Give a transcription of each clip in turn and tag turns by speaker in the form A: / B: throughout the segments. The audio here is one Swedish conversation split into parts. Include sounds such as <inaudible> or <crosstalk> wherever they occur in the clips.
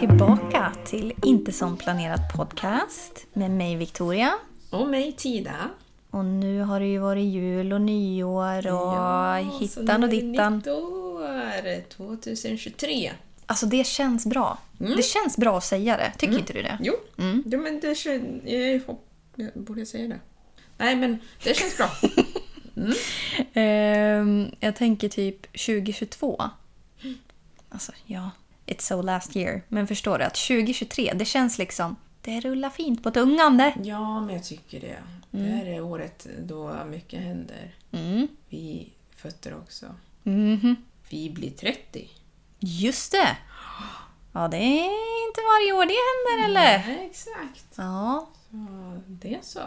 A: tillbaka till Inte som planerat podcast med mig Victoria.
B: Och mig Tida.
A: Och nu har det ju varit jul och nyår och
B: så nu är
A: hittan
B: det
A: och dittan.
B: Nytt år, 2023.
A: Alltså det känns bra. Det känns bra att säga det, tycker inte du det?
B: Mm. Jo, ja, Mm. men det känns... Jag hopp... jag Borde jag säga det? Nej, men det känns bra.
A: Ehm, jag tänker typ 2022. Alltså ja, it's so last year. Men förstår du att 2023, det känns liksom, det rullar fint på tungan det.
B: <laughs> ja, men jag tycker det. Det här är året då mycket händer.
A: Mm.
B: Vi fötter också.
A: Mhm.
B: Vi blir 30.
A: Just det! Ja, det är inte varje år det händer eller?
B: Nej, exakt.
A: Ja,
B: Så det är så.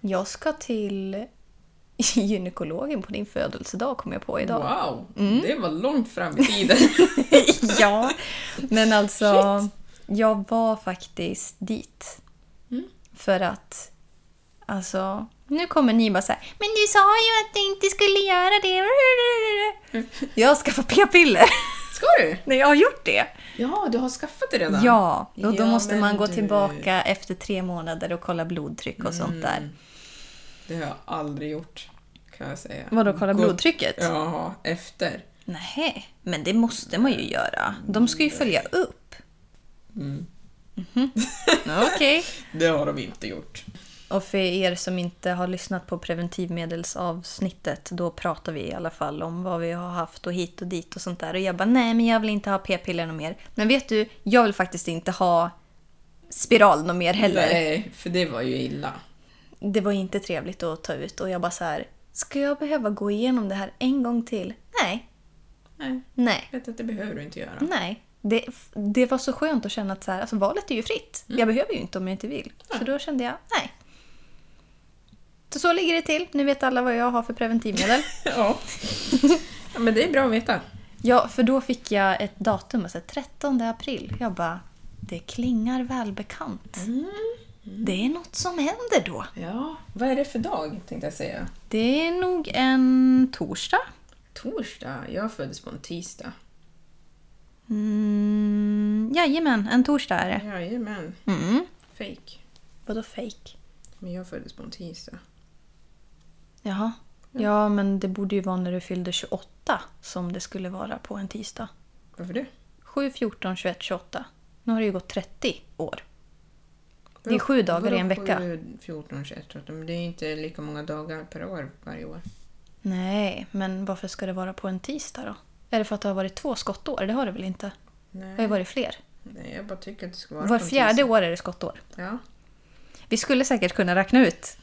A: jag ska till <laughs> gynekologen på din födelsedag kom jag på idag.
B: Wow, det var långt fram i tiden.
A: <laughs>
B: <laughs>
A: ja, men alltså jag var faktiskt dit.
B: Mm.
A: För att, alltså, nu kommer ni bara så här, men du sa ju att du inte skulle göra
B: <laughs>
A: det. Jag ska få p-piller <laughs>
B: Ska du?
A: när jag har gjort det.
B: Ja, du har skaffat det redan?
A: Ja, och då
B: Ja,
A: måste
B: men
A: man gå
B: du.
A: tillbaka efter tre månader och kolla blodtryck och
B: Mm.
A: sånt där.
B: Det har jag aldrig gjort, kan jag säga.
A: Vadå, kolla
B: Gå-
A: blodtrycket?
B: Ja, efter.
A: Nej, men det måste man ju göra. De ska ju följa upp. Mhm. Okej.
B: Det har de inte gjort.
A: Och för er som inte har lyssnat på preventivmedelsavsnittet, då pratar vi i alla fall om vad vi har haft och hit och dit och sånt där. Och jag bara, nej men jag vill inte ha p-piller något mer. Men vet du, jag vill faktiskt inte ha spiral något mer heller.
B: Nej, för det var ju illa.
A: Det var inte trevligt att ta ut och jag bara så här, ska jag behöva gå igenom det här en gång till? Nej,
B: Nej,
A: nej,
B: jag vet att det behöver du inte göra.
A: nej. Det, det var så skönt att känna att så här, alltså, valet är ju fritt. Jag behöver ju inte om jag inte vill. Så då kände jag, nej. Så, så ligger det till. Nu vet alla vad jag har för preventivmedel.
B: Ja.
A: <laughs>
B: ja, men det är bra att veta.
A: Ja, för då fick jag ett datum, alltså 13 april. Jag bara, det klingar välbekant. Det är något som händer då.
B: Ja, vad är det för dag, tänkte jag säga.
A: Det är nog en torsdag.
B: Torsdag? Jag föddes på en tisdag.
A: Mm, jajamän, en torsdag är det.
B: Jajamän.
A: Mm.
B: Fake.
A: Vadå fake?
B: Men jag föddes på en tisdag.
A: Jaha. Ja, men det borde ju vara när du fyllde 28 som det skulle vara på en tisdag.
B: Varför det?
A: 7, 14, 21, 28. Nu har det ju gått 30 år. Det är sju dagar i en vecka.
B: 7, 14, 21, 13? Men det är ju inte lika många dagar per år varje år.
A: Nej, men varför ska det vara på en tisdag då? Är det för att det har varit två skottår? Det har det väl inte? Det har ju
B: Nej,
A: varit fler.
B: nej jag bara tycker att det ska vara
A: Var
B: på en
A: fjärde
B: tisdag.
A: år är det skottår.
B: Ja.
A: Vi skulle säkert kunna räkna ut.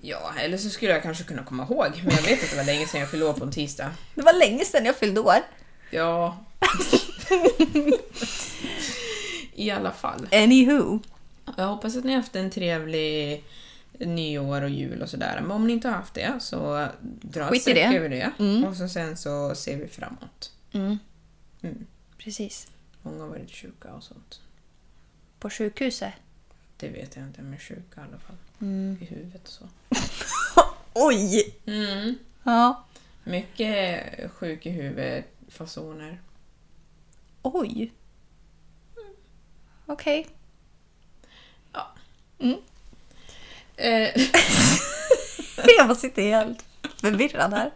B: ja, eller så skulle jag kanske kunna komma ihåg. Men jag vet att det var länge sedan jag fyllde år på en tisdag.
A: Det var länge sedan jag fyllde år.
B: Ja. I alla fall.
A: Anywho.
B: Jag hoppas att ni har haft en trevlig nyår och jul och sådär. Men om ni inte har haft det så dra
A: Skit i
B: ett streck
A: det.
B: över det. Och så sen så ser vi framåt.
A: Mm.
B: Mm.
A: Precis.
B: Många har varit sjuka och sånt.
A: På sjukhuset. Mm.
B: Det vet jag inte, men sjuka i alla fall. I huvudet och så.
A: Oj!
B: Mm.
A: Ja.
B: Mycket sjuk i huvudet, fasoner.
A: Oj. Mm. Okej.
B: Eh,
A: <laughs> Jag bara sitter helt förvirrad här.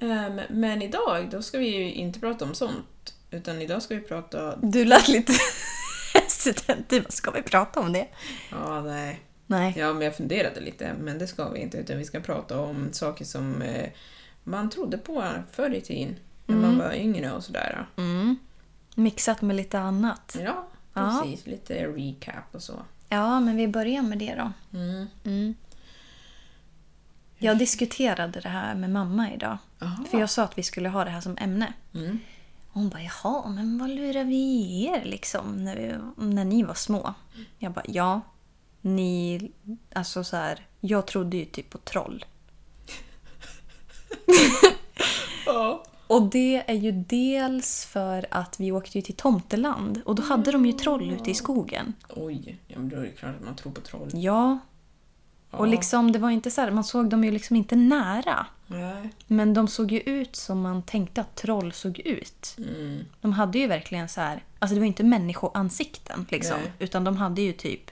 B: ehm, men idag, då ska vi ju inte prata om sånt. Utan idag ska vi prata...
A: Du lät lite <laughs> hesitant. Vad ska vi prata om det?
B: Ja, nej.
A: Nej.
B: Ja, men jag funderade lite, men det ska vi inte. Utan vi ska prata om saker som eh, man trodde på förr i tiden. När man var yngre och sådär.
A: Mm. Mixat med lite annat.
B: Ja,
A: Ja.
B: precis. Lite recap och så.
A: Ja, men vi börjar med det då.
B: Mm.
A: Mm. Jag diskuterade det här med mamma idag.
B: Aha.
A: För jag sa att vi skulle ha det här som ämne.
B: Mm.
A: Och hon bara, jaha, men vad lurar vi er liksom när, vi, när ni var små? Jag bara, ja. Ni, alltså så här, jag trodde ju typ på troll.
B: Ja.
A: Och det är ju dels för att vi åkte ju till Tomteland och då hade de ju troll ute i skogen.
B: Oj, ja, men då är det klart att man tror på troll.
A: Ja. Och
B: Ja.
A: liksom, det var ju inte så här, man såg dem ju liksom inte nära.
B: Nej.
A: Men de såg ju ut som man tänkte att troll såg ut.
B: Mm.
A: De hade ju verkligen så här, Alltså det var ju inte människoansikten liksom.
B: Nej.
A: Utan de hade ju typ...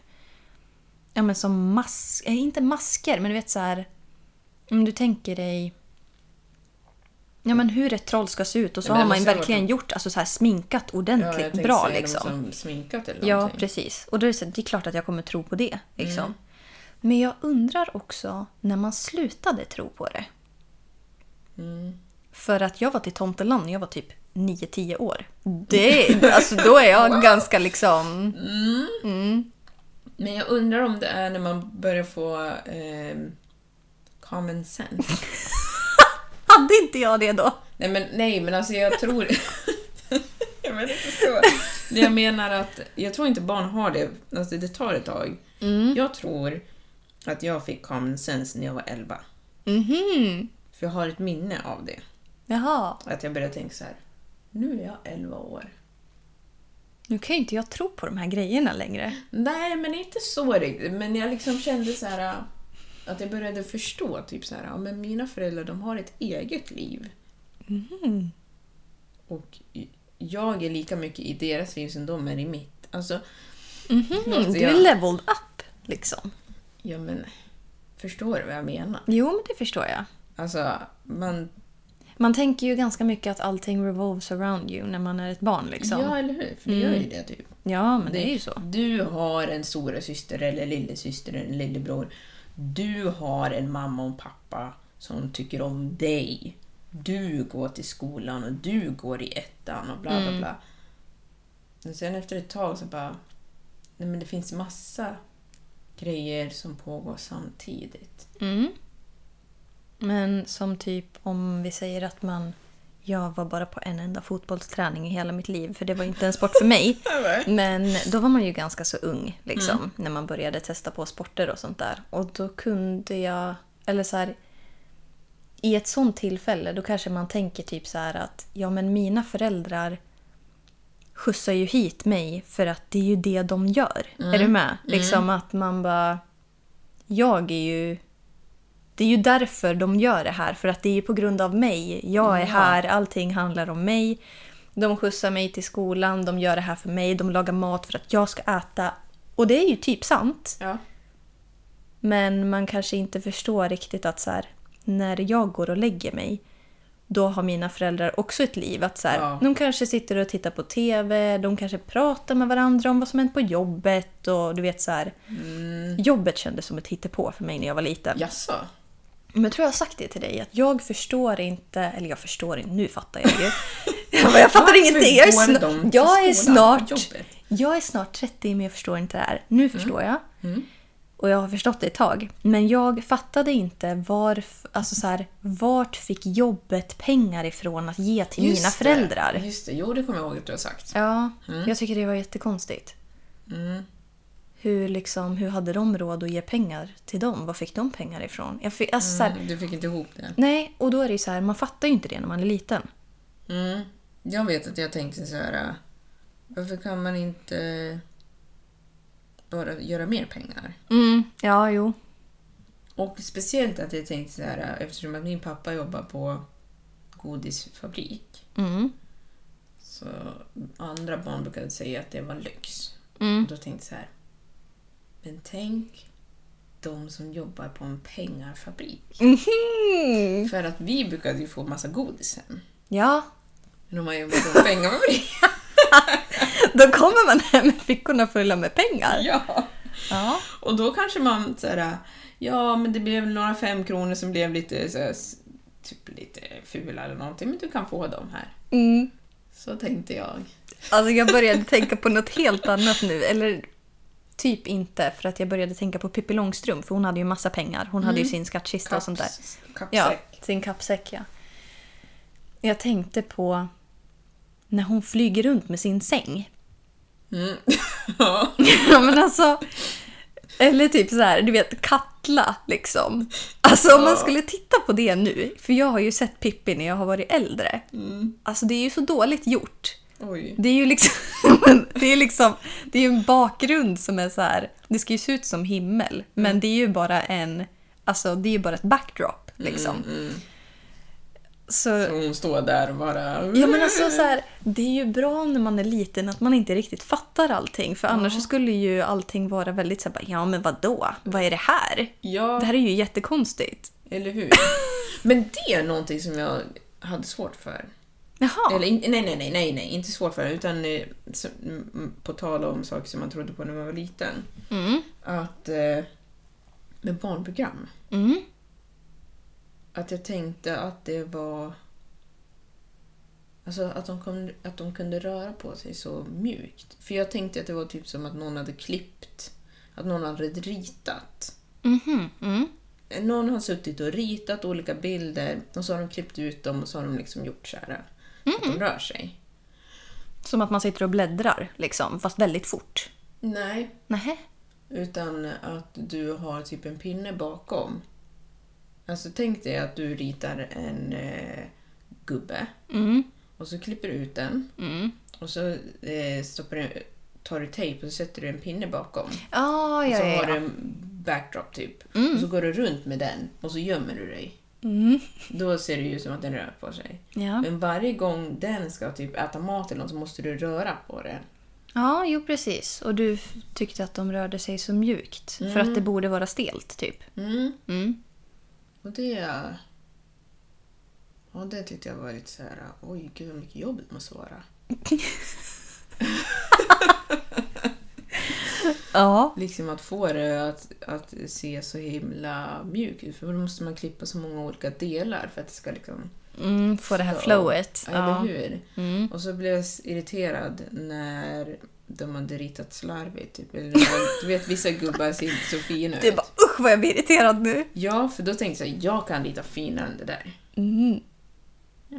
A: Ja men som mask... eh, Inte masker, men du vet så här... Om du tänker dig... Ja men hur ett troll ska se ut och så
B: Ja, men
A: har
B: det
A: man ju
B: måste ha
A: verkligen
B: varit-
A: gjort alltså så här sminkat
B: Ja, jag
A: ordentligt
B: tänkte
A: bra
B: säga
A: liksom.
B: De som sminkat eller
A: Ja,
B: någonting. Mm.
A: precis. Och då är det, så, det är klart att jag kommer tro på det. Liksom. Men jag undrar också när man slutade tro på det.
B: Mm.
A: För att jag var till Tomteland när jag var typ 9-10 år.
B: <laughs>
A: Det, alltså då är jag ganska liksom... Mm.
B: Men jag undrar om det är när man börjar få ehm, common sense.
A: Hade inte jag det då?
B: nej, men, nej, men alltså jag tror... <laughs> jag menar inte så. Men Jag menar att jag tror inte barn har det. Alltså det tar ett tag. Jag tror att jag fick common sense när jag var 11.
A: Mhm.
B: För jag har ett minne av det.
A: Jaha.
B: Att jag började tänka så här. Nu är jag 11 år.
A: Nu kan ju inte jag tro på de här grejerna längre.
B: Nej, men inte så riktigt. Men jag liksom kände så här att jag började förstå typ så här, ja, men mina föräldrar de har ett eget liv. Mm-hmm. Och jag är lika mycket i deras liv som de är i mitt. Alltså,
A: Mhm. Du är
B: jag-
A: leveled up liksom.
B: ja men förstår du vad jag menar?
A: Jo, men det förstår jag.
B: Alltså, man...
A: Man tänker ju ganska mycket att allting revolves around you när man är ett barn liksom.
B: Ja, eller hur? För det gör ju det typ.
A: Ja, men det är ju så.
B: Du har en stora syster eller lillasyster eller lillebror. Du har en mamma och en pappa som tycker om dig. Du går till skolan och du går i ettan och bla bla
A: Mm.
B: bla. Men sen efter ett tag så bara... Nej men det finns massa grejer som pågår samtidigt.
A: Mm. Men som typ om vi säger att man... Jag var bara på en enda fotbollsträning i hela mitt liv, för det var inte en sport för mig. Men då var man ju ganska så ung, liksom, när man började testa på sporter och sånt där. Och då kunde jag... Eller så här... I ett sånt tillfälle, då kanske man tänker typ så här att ja, men mina föräldrar skjutsar ju hit mig för att det är ju det de gör. Är du med? Liksom att man bara... Jag är ju... Det är ju därför de gör det här, för att det är ju på grund av mig. Jag är
B: Ja.
A: här, allting handlar om mig. De skjutsar mig till skolan, de gör det här för mig, de lagar mat för att jag ska äta. Och det är ju typ sant.
B: Ja.
A: Men man kanske inte förstår riktigt att så här, när jag går och lägger mig, då har mina föräldrar också ett liv. Att så här,
B: Ja.
A: De kanske sitter och tittar på TV, de kanske pratar med varandra om vad som hänt på jobbet. Och du vet så här,
B: Mm.
A: Jobbet kändes som ett hittepå för mig när jag var liten.
B: Jaså?
A: Men jag tror jag har sagt det till dig, att jag förstår inte, eller jag förstår inte, nu fattar jag ju. <laughs> Jag, bara, jag fattar
B: Varför
A: ingenting, jag är,
B: går
A: sna-
B: de till
A: jag, är
B: skolan och
A: snart,
B: jobbet? Mm.
A: jag är snart 30 men jag förstår inte det här. Nu förstår jag. Och jag har förstått det ett tag. Men jag fattade inte varf- alltså så här, vart fick jobbet pengar ifrån att ge till mina
B: Just det. Mm.
A: föräldrar?
B: Just det, jo det kommer jag ihåg att du har sagt.
A: Ja, jag tycker det var jättekonstigt.
B: Mm.
A: Hur, liksom, hur hade de råd att ge pengar till dem? Var fick de pengar ifrån? Jag fick, alltså, så här,
B: Mm, du fick inte ihop det.
A: Nej, och då är det ju så här, man fattar ju inte det när man är liten.
B: Mm. Jag vet att jag tänkte så här. äh, Varför kan man inte bara göra mer pengar?
A: Mm. Ja, jo.
B: Och speciellt att jag tänkte så här äh, eftersom att min pappa jobbar på godisfabrik.
A: Mm.
B: Så andra barn brukade säga att det var lyx.
A: Mm.
B: Och då tänkte jag så här. Men tänk de som jobbar på en pengarfabrik.
A: Mm.
B: För att vi brukade ju få massa godis hem.
A: Mhm. Ja,
B: När man jobbar på en pengarfabrik.
A: då kommer man hem med fickorna fulla med pengar.
B: ja.
A: Ja.
B: Och då kanske man såhär, ja men det blev några fem kronor som blev lite såhär, s- typ lite fula eller någonting, men du kan få dem här.
A: Mm.
B: Så tänkte jag.
A: Alltså jag började tänka på något helt annat nu, eller typ inte, för att jag började tänka på Pippi Långstrump, för hon hade ju massa pengar. Hon hade ju sin skattkista och sånt där.
B: Kaps-
A: Ja,
B: Kappsäck.
A: sin Mm. kappsäck ja. Jag tänkte på när hon flyger runt med sin säng.
B: Mm. <laughs> Ja.
A: Ja men alltså. Eller typ så här, du vet Katla liksom. Alltså om man skulle titta på det nu, för jag har ju sett Pippi när jag har varit äldre. Alltså det är ju så dåligt gjort.
B: Oj.
A: Det är ju liksom, <laughs> det är liksom, det är ju en bakgrund som är så här, det ska ju se ut som himmel, men det är ju bara en, alltså det är ju bara ett backdrop liksom. Så,
B: Och hon står där och bara...
A: ja men alltså så här, det är ju bra när man är liten att man inte riktigt fattar allting. För annars så skulle ju allting vara väldigt så här, bara, ja men vadå? Vad är det här?
B: Ja,
A: Det här är ju jättekonstigt. <laughs>
B: eller hur? Men det är någonting som jag hade svårt för.
A: Jaha.
B: Eller, in- nej, nej, nej, nej, nej, inte svårt för utan eh, så- m- m- på tal om saker som man trodde på när man var liten.
A: Mm.
B: Att eh, med barnprogram,
A: Mm.
B: att jag tänkte att det var... Alltså att de, kom, att de kunde röra på sig så mjukt. För jag tänkte att det var typ som att någon hade klippt, att någon hade ritat. Eh,
A: Mhm. Mm.
B: Någon har suttit och ritat olika bilder och så har de klippt ut dem och så har de liksom gjort så här. Att de rör sig.
A: Som att man sitter och bläddrar, liksom, fast väldigt fort.
B: Nej,
A: Nähä.
B: Utan att du har typ en pinne bakom. Alltså tänk dig att du ritar en eh, gubbe
A: Mm.
B: och så klipper du ut den
A: Mm.
B: och så eh, stoppar du, tar du tejp och så sätter du en pinne bakom.
A: Ah,
B: Och
A: ja,
B: så
A: ja, Mm.
B: har du
A: ja.
B: en backdrop typ. Och så går du runt med den och så gömmer du dig.
A: Mm.
B: Då ser det ju ut som att den rör på sig.
A: Ja,
B: Men varje gång den ska typ äta mat eller något så måste du röra på den.
A: ja jo, precis. Och du f- tyckte att de rörde sig så mjukt. För att det borde vara stelt, typ.
B: Mm.
A: Mm.
B: Och det... Ja, det tyckte jag var lite så här. Oj, gud vad mycket jobb det måste vara.
A: Ja.
B: Liksom att få det att, att se så himla mjukt ut. För då måste man klippa så många olika delar för att det ska liksom...
A: Mm, få det här
B: Ja.
A: flowet.
B: Ja,
A: Ja.
B: eller hur?
A: Mm.
B: Och så blev jag s- irriterad när de hade ritat slarvigt. Typ. Eller när, du vet, vissa gubbar ser inte så fina
A: Du
B: ut.
A: bara usch vad jag blir irriterad nu.
B: Ja, för då tänkte jag jag kan rita finare än det där.
A: Mm. Ja.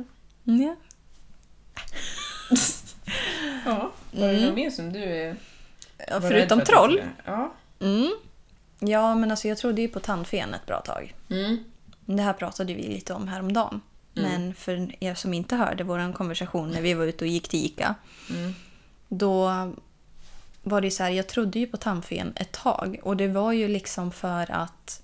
B: Ja. Var det något mer som du är...
A: Ja,
B: var rädd för
A: Mm. förutom
B: att du
A: troll.
B: skulle- Ja.
A: Mm. Ja, men alltså jag trodde ju på tandfen ett bra tag.
B: Mm.
A: Det här pratade vi lite om häromdagen. Men för er som inte hörde vår konversation när vi var ute och gick till Ica.
B: Mm.
A: Då var det ju så här, jag trodde ju på tandfen ett tag. Och det var ju liksom för att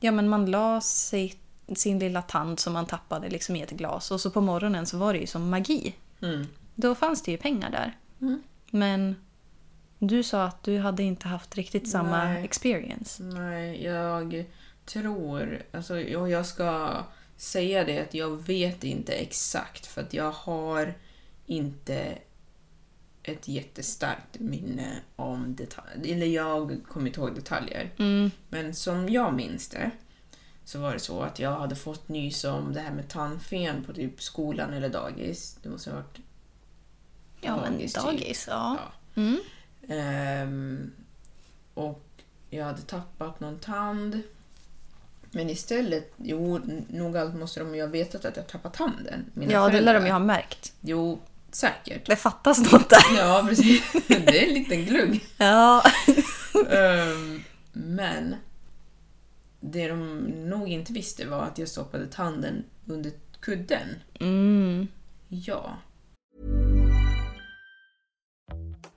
A: ja, men man la sitt, sin lilla tand som man tappade liksom i ett glas. Och så på morgonen så var det ju som magi.
B: Mm.
A: Då fanns det ju pengar där.
B: Mm.
A: Men du sa att du hade inte haft riktigt samma
B: Nej.
A: experience.
B: Nej, jag tror... Alltså, jag, jag ska säga det att jag vet inte exakt för att jag har inte ett jättestarkt minne om detaljer. Eller jag kommer inte ihåg detaljer.
A: Mm.
B: Men som jag minns det så var det så att jag hade fått nys om det här med tandfen på typ skolan eller dagis. Det måste ha varit...
A: Ja, men
B: Dagis, typ.
A: dagis. Ja.
B: Ja.
A: Mm.
B: Ehm, och jag hade tappat någon tand. Men istället, jo, n- nog allt måste de ju ha vetat att jag tappat tanden. mina
A: Ja, det lär de ju
B: föräldrar.
A: ha märkt.
B: Jo, säkert. <laughs>
A: Det fattas något där.
B: Ja, precis. Det är en liten glugg.
A: Ja.
B: Ehm, men det de nog inte visste var att jag stoppade tanden under kudden.
A: Mm.
B: Ja.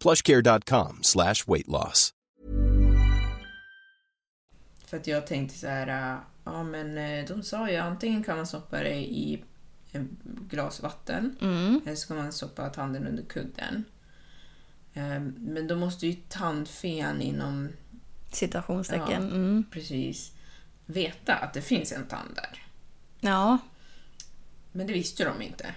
C: Plushcare.com slash weight loss.
B: För att jag tänkte så här, äh, ja men eh, de sa ju antingen kan man stoppa det i en glas vatten
A: Mm.
B: eller så kan man stoppa tanden under kudden. Eh, Men då måste ju tandfen inom,
A: Citationstecken.
B: Ja.
A: Mm.
B: precis, veta att det finns en tand där.
A: ja.
B: Men det visste ju de inte.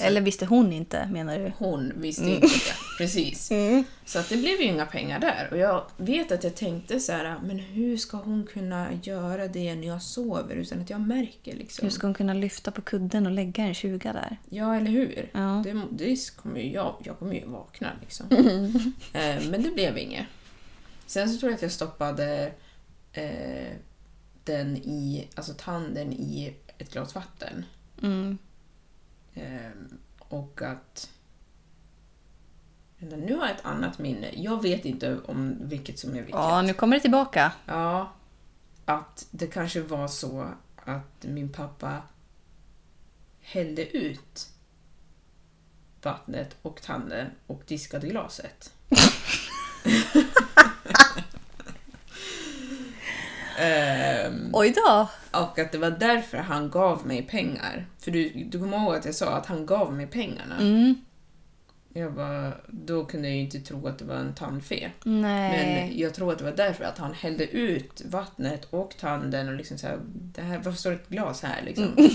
A: Eller visste hon inte menar du?
B: Hon visste
A: Mm.
B: inte det. Precis.
A: <laughs>
B: Så att det blev ju inga pengar där. Och jag vet att jag tänkte så här, äh, men hur ska hon kunna göra det när jag sover utan att jag märker liksom?
A: Hur ska hon kunna lyfta på kudden och lägga en 20 där?
B: Ja, eller hur?
A: Ja.
B: Det, det kommer ju jag, jag kommer ju vakna
A: <laughs>
B: liksom. eh, men det blev inget. Sen så tror jag att jag stoppade eh, den i, alltså tanden i ett glas vatten.
A: Mm.
B: Ehm, och att... Vänta, nu har jag ett annat minne. Jag vet inte om vilket som är vilket.
A: Ja, nu kommer det tillbaka.
B: Ja, att det kanske var så att min pappa hällde ut vattnet och tanden och diskade glaset. Ehm,
A: Oj då!
B: och att det var därför han gav mig pengar. För du, du kommer ihåg att jag sa att han gav mig pengarna. Jag bara, då kunde jag ju inte tro att det var en tandfe.
A: Nej.
B: Men jag tror att det var därför att han hällde ut vattnet och tanden och liksom så här, det här varför står det ett glas här liksom?
A: Mm.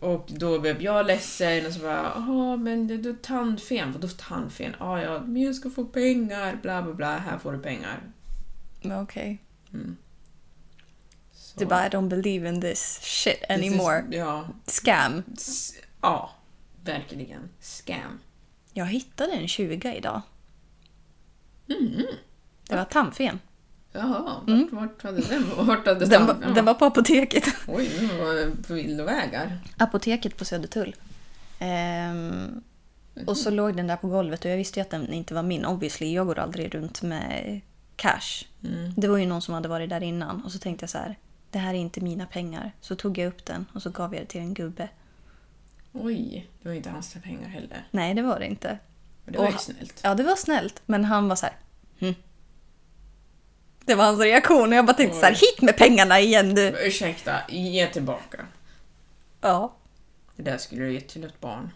B: <laughs> och då blev jag ledsen och så bara, ja men det, det är tandfen, vadå tandfen? Ja, ja, men jag ska få pengar, bla bla bla, här får du pengar.
A: Men Okej.
B: Mm. Så,
A: Du bara, I don't believe in this shit
B: this is-
A: anymore.
B: Ja,
A: Scam.
B: S- ja, verkligen. Scam.
A: Jag hittade en 20 idag. Det var tandfen.
B: Jaha, vart, vart hade den vart hade
A: Mm. Den,
B: tanden-
A: var- den var på apoteket. <laughs>
B: Oj, nu var det på villovägar.
A: Apoteket på Södertull. Ehm, och så låg den där på golvet och jag visste ju att den inte var min. Obviously, jag går aldrig runt med cash. Det var ju någon som hade varit där innan och så tänkte jag så här. Det här är inte mina pengar. Så tog jag upp den och så gav jag det till en gubbe.
B: Oj, det var inte hans pengar heller.
A: Nej, det var det inte.
B: Men det var ju
A: Och-
B: snällt.
A: Ja, det var snällt. Men han var så här. Hm. Det var hans reaktion och jag bara tänkte så här. Hit med pengarna igen du!
B: Ursäkta, ge tillbaka.
A: Ja.
B: Det där skulle du ge till ett barn.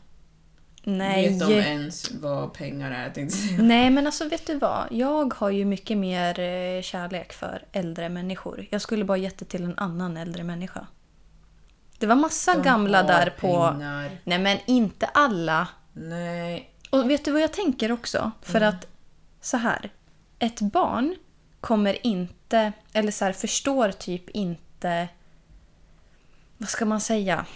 A: Nej.
B: Vet de ens vad pengar är? Tänkte jag. säga.
A: Nej, men alltså vet du vad? Jag har ju mycket mer eh, kärlek för äldre människor. Jag skulle bara gett det till en annan äldre människa. Det var massa
B: De
A: gamla
B: har
A: där på...
B: pengar.
A: Nej, men inte alla.
B: Nej.
A: Och vet du vad jag tänker också? För
B: Mm.
A: att så här. Ett barn kommer inte, eller så här, förstår typ inte... Vad ska man säga?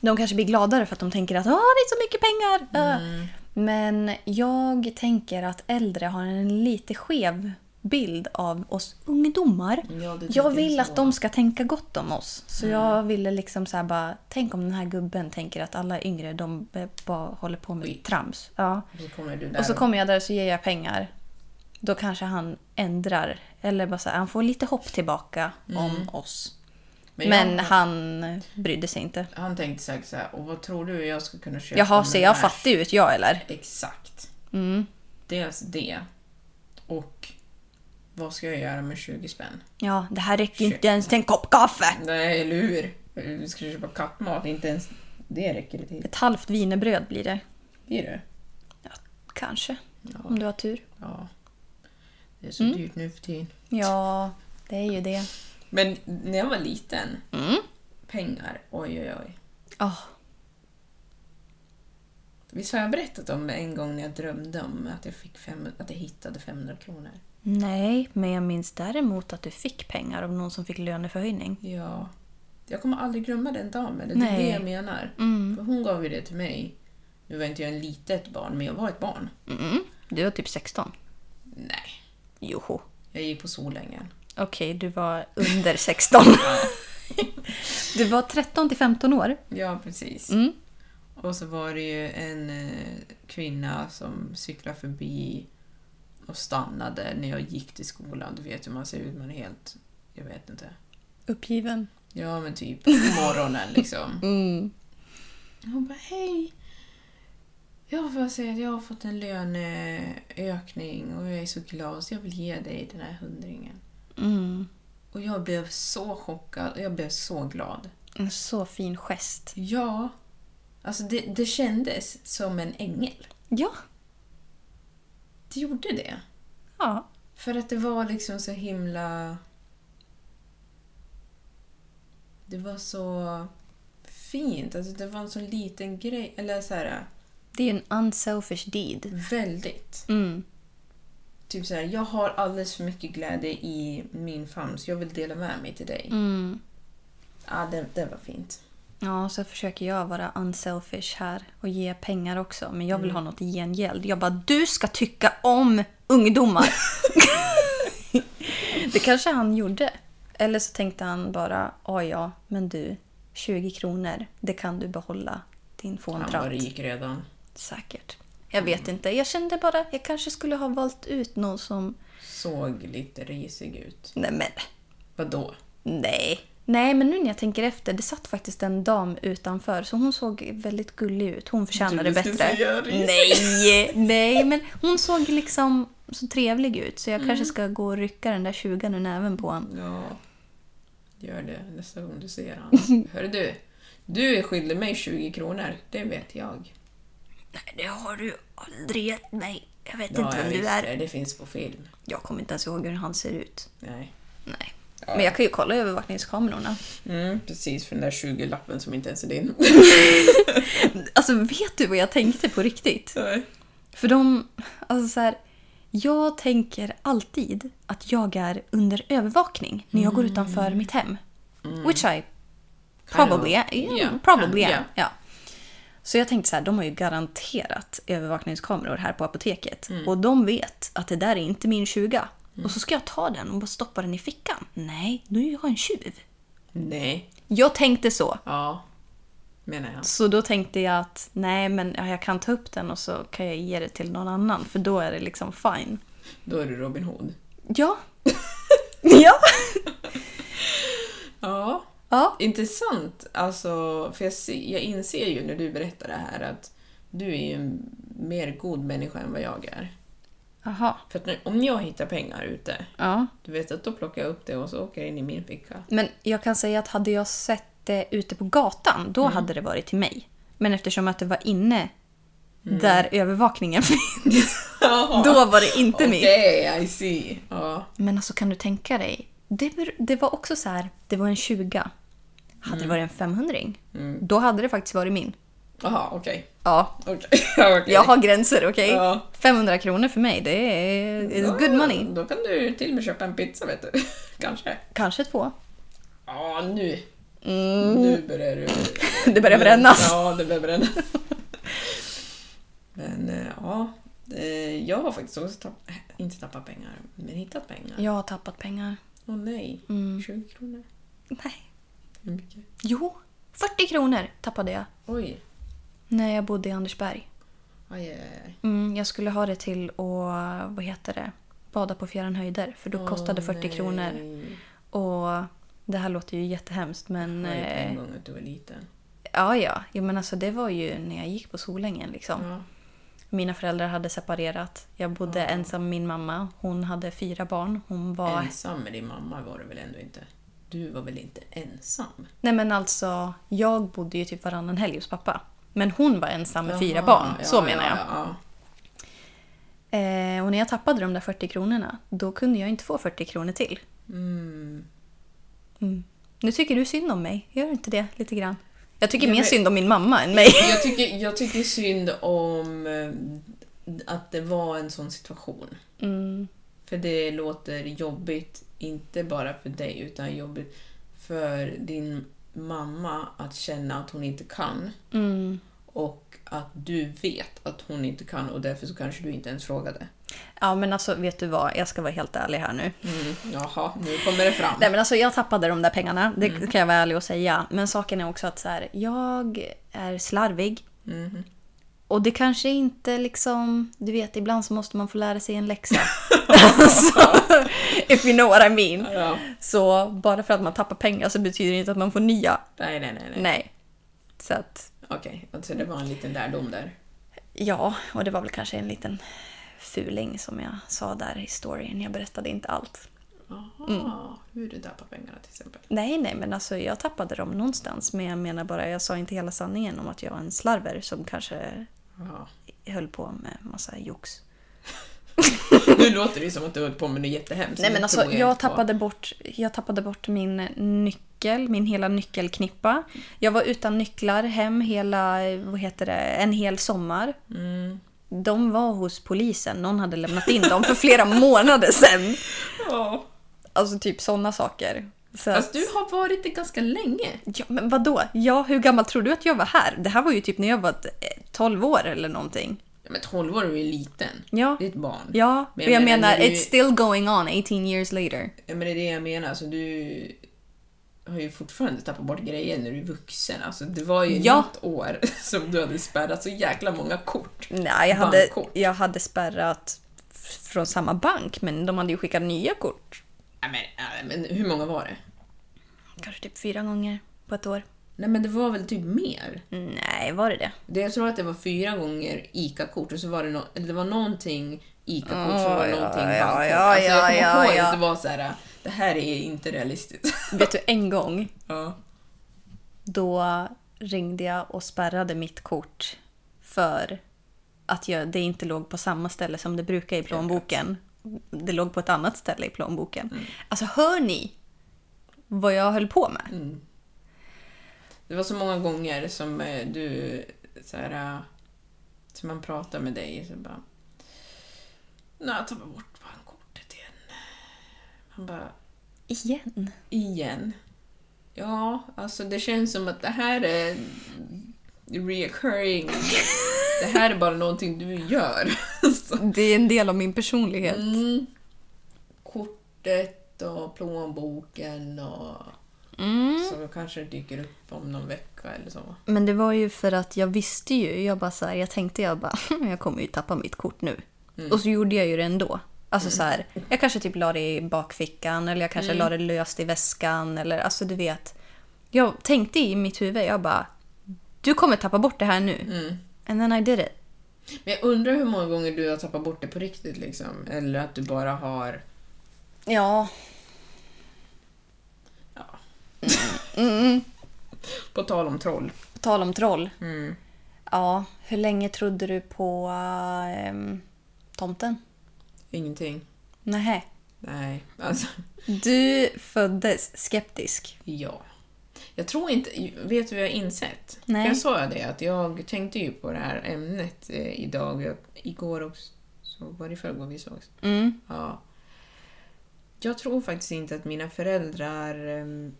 A: De kanske blir gladare för att de tänker att Åh, det är så mycket pengar! Äh.
B: Mm.
A: Men jag tänker att äldre har en lite skev bild av oss ungdomar.
B: Ja, det
A: jag
B: tänker Mm.
A: vill
B: jag
A: att de ska tänka gott om oss. Så jag ville liksom så här bara, tänk om den här gubben tänker att alla yngre de eh, bara håller på med trams. Ja.
B: Och så kommer du där
A: Och så kommer jag där och så ger jag pengar. Då kanske han ändrar. Eller bara så här, han får lite hopp tillbaka om oss. Men,
B: Mm. jag,
A: han brydde sig inte.
B: han tänkte säkert så här, och vad tror du jag ska kunna köpa
A: Jaha,
B: med
A: ser
B: den
A: jag Mm.
B: här?"
A: fattig ut jag eller?
B: Exakt. Dels det. Och vad ska jag göra med 20 spänn?
A: Ja, det här räcker ju inte ens till en kopp kaffe.
B: Nej, eller hur? Vi ska köpa kattmat, inte ens det räcker det till.
A: Ett halvt wienerbröd blir det.
B: Blir det?
A: Ja, kanske. Om du har tur.
B: Ja. Det är så
A: Mm.
B: dyrt nu för tiden.
A: Ja, det är ju det.
B: Men när jag var liten, pengar, oj oj oj.
A: Oh,
B: Visst har jag berättat om en gång när jag drömde om att jag, fick fem, att jag hittade 500 kronor?
A: nej, men jag minns däremot att du fick pengar av någon som fick löneförhöjning.
B: Ja. Jag kommer aldrig glömma den damen, det är
A: Nej.
B: det jag menar. För hon gav ju det till mig. Nu var inte jag en litet barn, men jag var ett barn.
A: Mm. Du var typ 16.
B: Nej,
A: Joho.
B: jag gick på Solängen.
A: Okej, du var under <laughs> 16. du var 13 till 15 år.
B: Ja, precis. Och så var det ju en eh, kvinna som cyklade förbi och stannade när jag gick till skolan. Du vet hur man ser ut, man är helt... Jag vet inte.
A: Uppgiven.
B: Ja, men typ på morgonen liksom. Hon bara, hej! Jag får säga att jag har fått en löneökning och jag är så glad så jag vill ge dig den här hundringen.
A: Mm.
B: Och jag blev så chockad och jag blev så glad.
A: En så fin gest.
B: Ja, alltså det, det kändes som en ängel.
A: Ja.
B: Det gjorde det.
A: Ja.
B: För att det var liksom så himla... Det var så fint. Alltså det var en sån liten grej. Eller så här,
A: Det är en unselfish deed.
B: väldigt.
A: Mm.
B: Typ så här, jag har alldeles för mycket glädje i min famn så jag vill dela med mig till dig. Ja, det, det var fint.
A: Ja, så försöker jag vara unselfish här och ge pengar också. Men jag vill ha något i gengäld. Jag bara, du ska tycka om <laughs> ungdomar! det kanske han gjorde. Eller så tänkte han bara, ja ja, men du, 20 kronor, det kan du behålla. Din
B: Han
A: fåntratt.
B: var rik redan.
A: Säkert. Jag vet inte. Jag kände bara, jag kanske skulle ha valt ut någon som...
B: Såg lite risig ut.
A: Nej men,
B: Vadå?
A: nej. Nej, men nu när jag tänker efter, det satt faktiskt en dam utanför så hon såg väldigt gullig ut. Hon förtjänade
B: Du
A: det
B: ska
A: bättre.
B: säga risig.
A: Nej, nej, men hon såg liksom så trevlig ut så jag kanske ska gå och rycka den där tjugan ur näven på honom.
B: Ja. Gör det nästa gång du ser <laughs> honom. Hör du, du är skyldig mig 20 kronor. Det vet jag.
A: Nej, det har du aldrig gett mig. Jag vet
B: Ja,
A: inte
B: jag
A: vem du
B: visste
A: är.
B: det. Det finns på film.
A: Jag kommer inte ens ihåg hur han ser ut.
B: Nej.
A: Nej. Men jag kan ju kolla övervakningskamerorna.
B: Mm, precis, för den där 20-lappen som inte ens är din.
A: Alltså, vet du vad jag tänkte på riktigt?
B: <laughs> Nej.
A: För de, alltså så här, jag tänker alltid att jag är under övervakning när jag går utanför mitt hem. Which I probably, am, yeah,
B: Yeah.
A: probably am.
B: Yeah.
A: Ja. Så jag tänkte så här, de har ju garanterat övervakningskameror här på apoteket. Och de vet att det där är inte min 20. Och så ska jag ta den och bara stoppa den i fickan. Nej, nu är jag en tjuv.
B: Nej.
A: Jag tänkte så.
B: Ja. Menar jag.
A: Så då tänkte jag att nej, men ja, jag kan ta upp den och så kan jag ge det till någon annan för då är det liksom fine.
B: Då är du Robin Hood.
A: Ja. <laughs> ja.
B: Ja.
A: Ja.
B: Intressant. Alltså, för jag, se, jag inser ju när du berättar det här att du är ju en mer god människa än vad jag är.
A: Aha.
B: För att när, om jag hittar pengar ute,
A: Ja.
B: du vet att då plockar jag upp det och så åker det in i min <laughs> ficka.
A: Men jag kan säga att hade jag sett det ute på gatan,
B: Mm.
A: då hade det varit till mig. Men eftersom att det var inne
B: Mm.
A: där övervakningen <laughs> finns, då var det inte mitt.
B: Okej, I see. Ja.
A: Men alltså kan du tänka dig? Det, ber- det var också så här, det var en 20. Hade
B: Mm.
A: det varit en 500 då hade det faktiskt varit min.
B: Aha, okej.
A: Ja,
B: Mm. Okej. <laughs> Ja, okej.
A: jag har gränser, okej?
B: Ja.
A: 500 kronor för mig, det är it's good money.
B: Då kan du till och med köpa en pizza, vet du. <laughs> Kanske.
A: Kanske två.
B: Ja, nu.
A: Mm.
B: Nu börjar du...
A: <laughs> Det börjar brännas.
B: Ja, det börjar brännas. <laughs> Men eh, ja, eh, jag har faktiskt också tapp, eh, inte tappat pengar, men hittat pengar. Åh
A: Jag har tappat pengar.
B: nej,
A: Mm.
B: 20 kronor.
A: Nej.
B: Hur mycket?
A: Jo, 40 kronor tappade jag
B: Oj,
A: när jag bodde i Andersberg.
B: aj, aj, aj.
A: Mm, jag skulle ha det till att, vad heter det, bada på fjärran höjder för då kostade 40 kronor.
B: Nej.
A: Och det här låter ju jättehemskt men...
B: Jag vet
A: Eh,
B: en gång att du var liten.
A: ja, ja. Jo, men alltså det var ju när jag gick på Solängen liksom.
B: Ja.
A: Mina föräldrar hade separerat. Jag bodde ensam med min mamma. Hon hade fyra barn. Hon var...
B: Ensam med din mamma var du väl ändå inte? Du var väl inte ensam?
A: Nej men alltså, jag bodde ju typ varannan helg hos pappa. Men hon var ensam med fyra
B: Jaha,
A: barn, så
B: ja,
A: menar
B: ja,
A: jag.
B: Ja,
A: Eh, och när jag tappade de där 40 kronorna, då kunde jag inte få 40 kronor till. Mm. Nu tycker du synd om mig, gör du inte det lite grann? Jag tycker
B: Ja,
A: mer
B: men-
A: synd om min mamma än mig.
B: Jag tycker, jag tycker synd om eh, att det var en sån situation. Mm. För det låter jobbigt, inte bara för dig, utan jobbigt för din mamma att känna att hon inte kan.
A: Mm.
B: Och att du vet att hon inte kan och därför så kanske du inte ens frågade.
A: Ja men alltså, vet du vad? Jag ska vara helt ärlig här nu.
B: Mm. Jaha, nu kommer det fram.
A: Nej men alltså jag tappade de där pengarna, det
B: Mm.
A: kan jag vara
B: Mm-hmm.
A: ärlig och säga. Men saken är också att så här, jag är slarvig. Och det kanske inte liksom... Du vet, ibland så måste man få lära sig en läxa.
B: <laughs>
A: alltså, if you know what I mean.
B: Ja.
A: Så bara för att man tappar pengar så betyder det inte att man får nya.
B: Nej, nej, nej. nej.
A: Nej. Så att,
B: Okej, alltså det var en liten lärdom där.
A: ja. Och det var väl kanske en liten fuling som jag sa där i storyn. Jag berättade inte allt.
B: Aha,
A: Mm.
B: hur du tappar pengarna till exempel.
A: Nej, nej, men alltså jag tappade dem någonstans. Men jag menar bara, jag sa inte hela sanningen om att jag var en slarver som kanske
B: Ja.
A: höll på med massa jox.
B: Nu låter det som att du har hållit på med något jättehemskt.
A: Nej
B: Det
A: men alltså
B: tror
A: jag,
B: inte på.
A: tappade bort, jag tappade bort min nyckel, min hela nyckelknippa. Jag var utan nycklar hem hela, vad heter det, en hel sommar. Mm. De var hos polisen, någon hade lämnat in dem för flera <laughs> månader sedan.
B: Ja.
A: Alltså typ sådana saker. Så
B: Fast
A: att,
B: du har varit det ganska länge.
A: ja, men vadå? Ja, hur gammal tror du att jag var här? Det här var ju typ när jag var eh, 12 år eller någonting.
B: Ja, Men 12 år är ju liten.
A: Ja.
B: Det är ett barn.
A: Ja, och jag menar,
B: du-
A: it's still going on 18 years later.
B: Ja, men det är det jag menar. Alltså, du har ju fortfarande tappat bort grejer när du är vuxen. Alltså, det var ju
A: Ja.
B: något år <laughs> som du hade spärrat så jäkla många kort.
A: Nej, jag hade,
B: Bankkort.
A: jag hade spärrat f- från samma bank, men de hade ju skickat nya kort.
B: Nej, men, nej, men hur många var det?
A: Kanske typ fyra gånger på ett år.
B: Nej, men det var väl typ mer?
A: Nej, var det det?
B: Det, jag tror att det var fyra gånger ICA-kort och så var det, no- eller det var någonting ICA-kort som
A: Ja,
B: var
A: ja,
B: någonting
A: ja,
B: bankkort.
A: ja,
B: alltså, jag
A: ja,
B: kommer
A: ja,
B: ihåg
A: ja.
B: att det var så här. det här är inte
A: <laughs>
B: realistiskt.
A: Vet du, en gång
B: ja.
A: då ringde jag och spärrade mitt kort för att jag, det inte låg på samma ställe som det brukar i plånboken. Det låg på ett annat ställe i plånboken. Alltså, hör ni vad jag höll på med?
B: Det var så många gånger som eh, du så här, eh, som man pratar med dig så bara Nej, jag tappade bort bankkortet igen. Man bara,
A: Igen?
B: igen? Ja, alltså det känns som att det här är reoccurring. Det här är bara någonting du gör. Alltså. Så,
A: Det är en del av min personlighet.
B: mm, kortet och plånboken och så kanske det dyker upp om någon vecka eller så.
A: Men det var ju för att jag visste ju, jag bara så här, jag tänkte jag bara, <laughs> jag kommer ju tappa mitt kort nu. Och så gjorde jag ju det ändå. Alltså så här, jag kanske typ la det i bakfickan eller jag kanske la det löst i väskan eller alltså du vet. Jag tänkte i mitt huvud, jag bara, du kommer tappa bort det här nu. And then I did it.
B: Men jag undrar hur många gånger du har tappat bort det på riktigt liksom. Eller att du bara har...
A: Ja,
B: På tal om troll.
A: på tal om troll. Ja, hur länge trodde du på eh, em, tomten?
B: Ingenting.
A: Nej.
B: Nej, alltså.
A: Du föddes skeptisk.
B: Ja. Jag tror inte... Vet du vad jag har insett?
A: Nej.
B: För jag sa ju det, att jag tänkte ju på det här ämnet eh, idag. Jag, igår också. Så var det i förrgår vi sågs? Ja. Jag tror faktiskt inte att mina föräldrar em,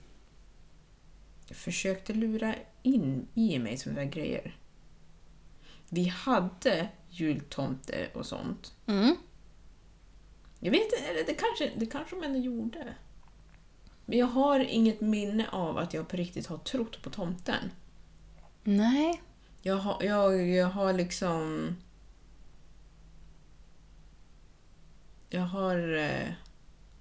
B: försökte lura in i mig sådana där grejer. Vi hade jultomte och sånt.
A: Mm.
B: Jag vet inte, eller det kanske, det kanske de ändå gjorde. Men jag har inget minne av att jag på riktigt har trott på tomten.
A: Nej.
B: Jag har, jag, jag har liksom... Jag har eh,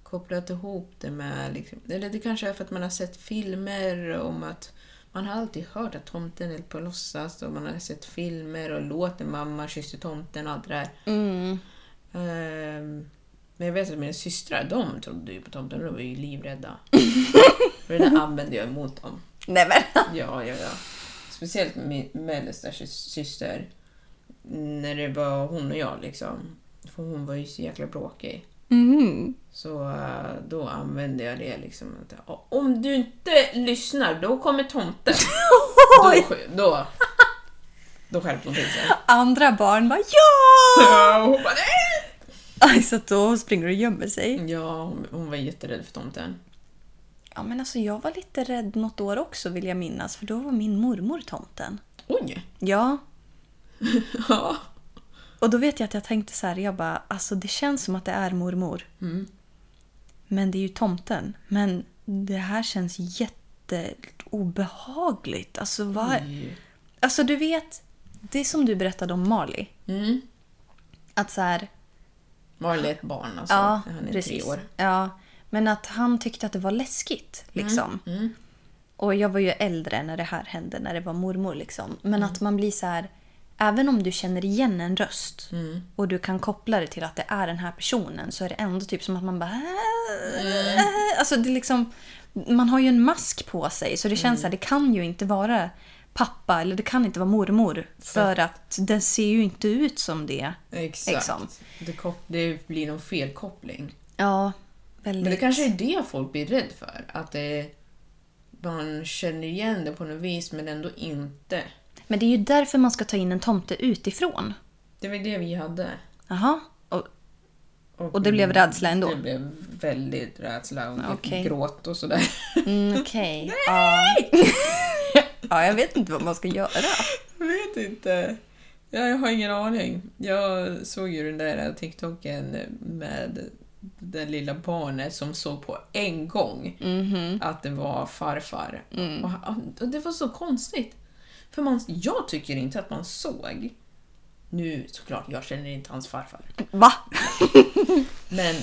B: kopplat ihop det med... Liksom, eller det kanske är för att man har sett filmer om att... Man har alltid hört att tomten är på låtsas och man har sett filmer och låter mamma kysser tomten och allt det där. Ehm, men jag vet att mina systrar, de trodde ju på tomten och de var ju livrädda. och det där använde jag emot dem.
A: Nej men.
B: Ja, ja, ja. Speciellt min mellersta sy- syster. När det var hon och jag liksom. För hon var ju så jäkla bråkig.
A: Mm. <laughs>
B: Så eh, då använde jag det liksom. att, "Ja, Om du inte lyssnar, då kommer <laughs> tomten. då, sk- då, då skärpte hon till sig.
A: andra barn bara ja!
B: <laughs> Ja, hon bara, "Nej!"
A: Aj, <laughs> så att då springer du och gömmer sig.
B: Ja, hon- hon var jätterädd för tomten.
A: Mm. Ja, men alltså jag var lite rädd något år också vill jag minnas, för då var min mormor tomten.
B: Oj!
A: Ja,
B: <laughs> Ja.
A: och då vet jag att jag tänkte så här, jag bara, alltså det känns som att det är mormor. Men det är ju tomten. Men det här känns jätteobehagligt. Alltså vad... Alltså du vet, det är som du berättade om Marley.
B: Mm.
A: Att så här,
B: Marley är ett barn alltså.
A: ja,
B: Han är
A: precis.
B: tre år.
A: Ja, men att han tyckte att det var läskigt.
B: Mm,
A: Liksom. Och jag var ju äldre när det här hände, när det var mormor. Liksom. Men
B: Mm.
A: att man blir så här, även om du känner igen en röst
B: Mm.
A: och du kan koppla det till att det är den här personen så är det ändå typ som att man bara...
B: Mm.
A: "Äh, äh." <laughs> Alltså det är liksom, man har ju en mask på sig så det
B: Mm.
A: känns så här, det kan ju inte vara pappa eller det kan inte vara mormor för att den ser ju inte ut som det.
B: Exakt.
A: Liksom.
B: Det, kop- det blir någon felkoppling.
A: Ja, väldigt.
B: Men det kanske är det folk blir rädd för. Att det, man känner igen det på något vis men ändå inte.
A: Men det är ju därför man ska ta in en tomte utifrån.
B: Det var det vi hade.
A: Jaha. Och, och det blev rädsla ändå?
B: Det blev väldigt rädsla och typ
A: Okej.
B: gråt och sådär. <laughs>
A: Mm, Okej. <laughs> Ja. <laughs> ja, jag vet inte vad man ska göra.
B: Jag vet inte. Ja, jag har ingen aning. Jag såg ju den där TikToken med det lilla barnet som såg på en gång att det var farfar. Och, han- och det var så konstigt. För man, jag tycker inte att man såg. Nu såklart, jag känner inte hans farfar.
A: Va?
B: Men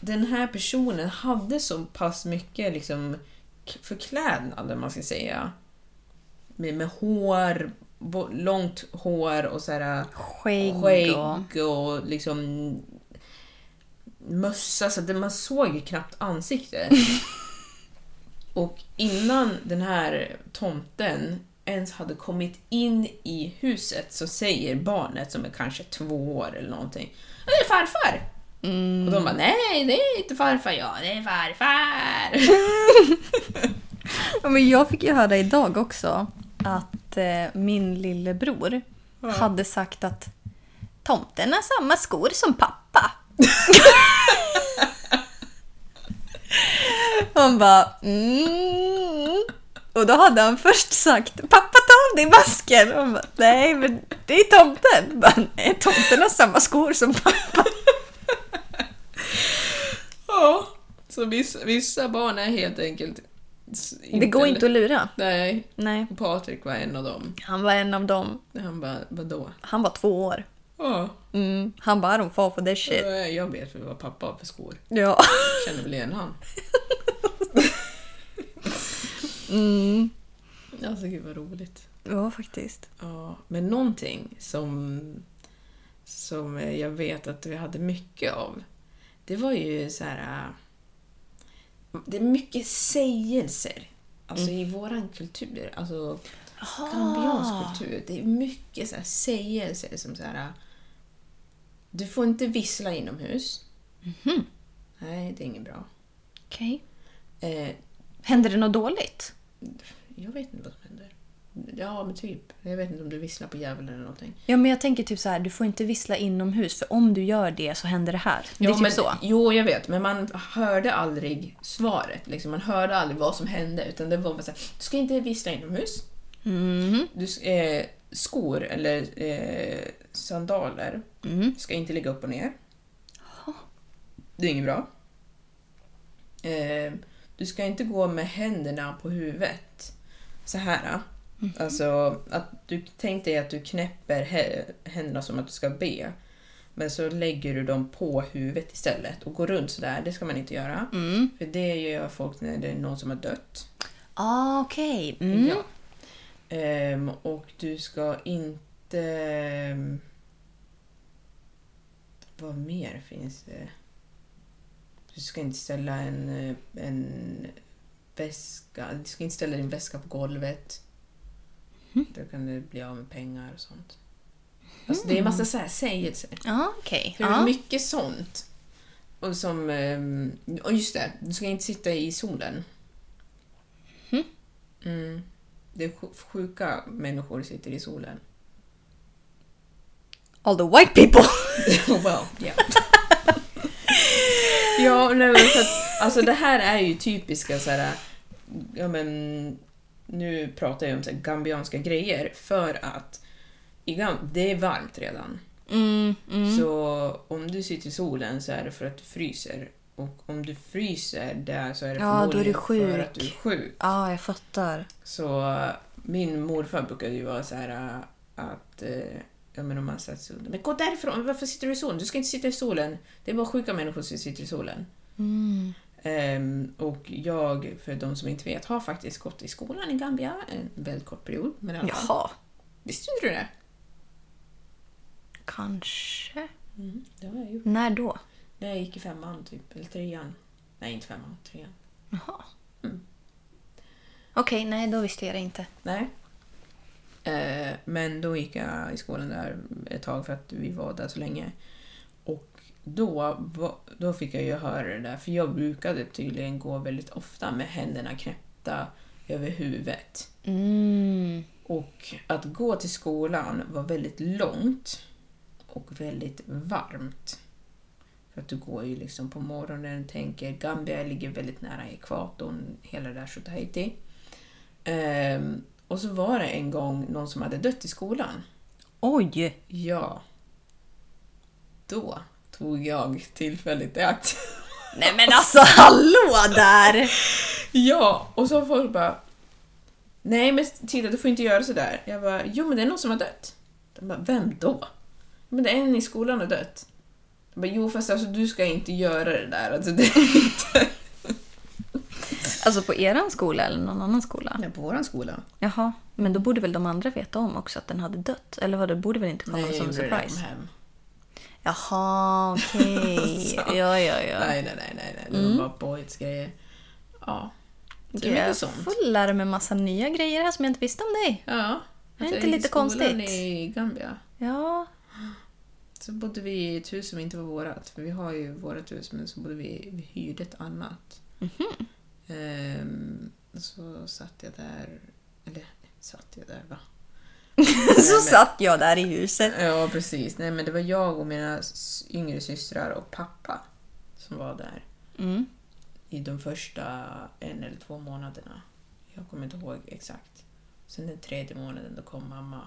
B: den här personen hade så pass mycket liksom, k- förklädnad, eller man ska säga. Med, med hår, bo- långt hår och så här, äh,
A: Skägg och-
B: skägg och liksom mössa, så att man såg ju knappt ansiktet. och innan den här tomten ens hade kommit in i huset så säger barnet, som är kanske två år eller någonting, "Ja, det är farfar! Och de bara nej, det är inte farfar jag, det är farfar. <laughs>
A: Ja, men jag fick ju höra idag också att eh, min lillebror hade sagt att tomten har samma skor som <laughs> pappa. Han bara mm. Och då hade han först sagt pappa ta av dig masken. Och han bara, nej men det är tomten. Jag Bara, nej, tomten har samma skor som pappa.
B: Ja, så vissa, vissa barn är helt enkelt s-
A: Det går inte att lura.
B: Nej,
A: Nej,
B: och Patrik var en av dem.
A: han var en av dem.
B: Han bara, vadå?
A: Han var två år.
B: Ja,
A: Mm. Han bara I don't fall for this shit.
B: eh, jag vet vad pappa har för skor.
A: Ja.
B: Känner väl igen han. mm. Alltså gud vad roligt.
A: Ja, faktiskt.
B: Ja, men någonting som, som jag vet att vi hade mycket av, det var ju så här... äh, Det är mycket sägelser. Alltså i våran kultur, alltså colombiansk kultur, det är mycket så här sägelser som så här... äh, Du får inte vissla inomhus. Mhm. Nej, det är inget bra.
A: Okej.
B: Eh,
A: Händer det något dåligt?
B: jag vet inte vad som händer. Ja, men typ. Jag vet inte om du visslar på djävulen eller någonting.
A: Ja, men jag tänker typ så här, du får inte vissla inomhus för om du gör det så händer det här. Det är typ
B: men,
A: så.
B: Jo, jag vet, men man hörde aldrig svaret. Liksom. Man hörde aldrig vad som hände. Utan det var bara så här, du ska inte vissla inomhus. Du, s- eh, skor eller eh, sandaler ska inte ligga upp och ner. Det är inget bra. Eh, du ska inte gå med händerna på huvudet. Så här. ah. Alltså, att du, tänk dig att du knäpper hä- händerna som att du ska be. Men så lägger du dem på huvudet istället och går runt sådär. Det ska man inte göra.
A: Mm.
B: För det gör folk när det är någon som har dött.
A: Ah, okej. Mm.
B: Ja. Ehm, och du ska inte... ehm, Vad mer finns det? Du ska inte ställa en, eh, en väska... Du ska inte ställa din väska på golvet. Då kan du bli av med pengar och sånt. Alltså, det är en massa så här sägelser.
A: Ah, okej.
B: Hur
A: Ja.
B: mycket sånt? Och som... ehm, Och just det, du ska inte sitta i solen. Mm. Det är sj- sjuka människor sitter i solen.
A: All the white people! <laughs>
B: Oh well, yeah. <laughs> ja, nej, men så att, alltså det här är ju typiska så här, ja men nu pratar jag om så här, gambianska grejer för att i Gam- det är varmt redan.
A: Mm,
B: Så om du sitter i solen så är det för att du fryser och om du fryser där så är det
A: Ja, då är
B: förmodligen
A: du
B: för att du är
A: sjuk.
B: sjuk.
A: Ja, ah, jag fattar.
B: Så min morfar brukade ju vara så här att eh, ja, men om man satt sig under. Men gå därifrån! Varför sitter du i solen? Du ska inte sitta i solen. Det är bara sjuka människor som sitter i solen. Ehm, och jag, för de som inte vet, har faktiskt gått i skolan i Gambia en väldigt kort period. Men i alla fall.
A: Jaha,
B: Visste inte du det?
A: kanske.
B: Mm, Det har jag gjort.
A: När då?
B: När jag gick i femman, typ. Eller trean. Nej, inte femman. Trean.
A: Jaha. Mm. Okej, nej då visste jag det inte.
B: Nej. Eh, men då gick jag i skolan där ett tag för att vi var där så länge. Och då, va- då fick jag ju höra det där, för jag brukade tydligen gå väldigt ofta med händerna knäppta över huvudet.
A: Mm.
B: Och att gå till skolan var väldigt långt och väldigt varmt. För att du går ju liksom på morgonen, tänker Gambia ligger väldigt nära ekvatorn, hela det där så Tahiti. Ehm, och så var det en gång någon som hade dött i skolan.
A: Oj!
B: Ja. Då tog jag tillfället i akt. <laughs>
A: Nej men alltså hallå där!
B: ja, och så folk bara... Nej men titta, du får inte göra sådär. Jag bara, jo men det är någon som har dött. De bara, vem då? Men det är en i skolan som har dött. De bara, jo fast alltså du ska inte göra det där. Alltså, det är inte...
A: Alltså på eran skola eller någon annan skola?
B: på våran skola.
A: Jaha, men då borde väl de andra veta om också att den hade dött? Eller vad, det borde väl inte komma
B: Nej,
A: som
B: som
A: en surprise?
B: Hem.
A: Jaha, okej.
B: <laughs> Så.
A: ja, ja, ja.
B: Nej, nej, nej, nej, nej. det var bara påhittsgrejer. Ja, det är mycket
A: Jag
B: sånt.
A: får lära mig massa nya grejer här som jag inte visste om dig.
B: Ja.
A: Är
B: Alltså,
A: inte
B: i
A: lite
B: skolan
A: konstigt?
B: i Gambia
A: Ja,
B: så bodde vi i ett hus som inte var vårat. För vi har ju vårat hus men så bodde vi, vi hyrde ett annat. Mhm. Ehm, så satt jag där, eller satt jag där va?
A: <laughs> så satt jag där i huset.
B: Ja precis, nej men det var jag och mina s- yngre systrar och pappa som var där.
A: Mm.
B: I de första en eller två månaderna. Jag kommer inte ihåg exakt. Sen den tredje månaden då kom mamma.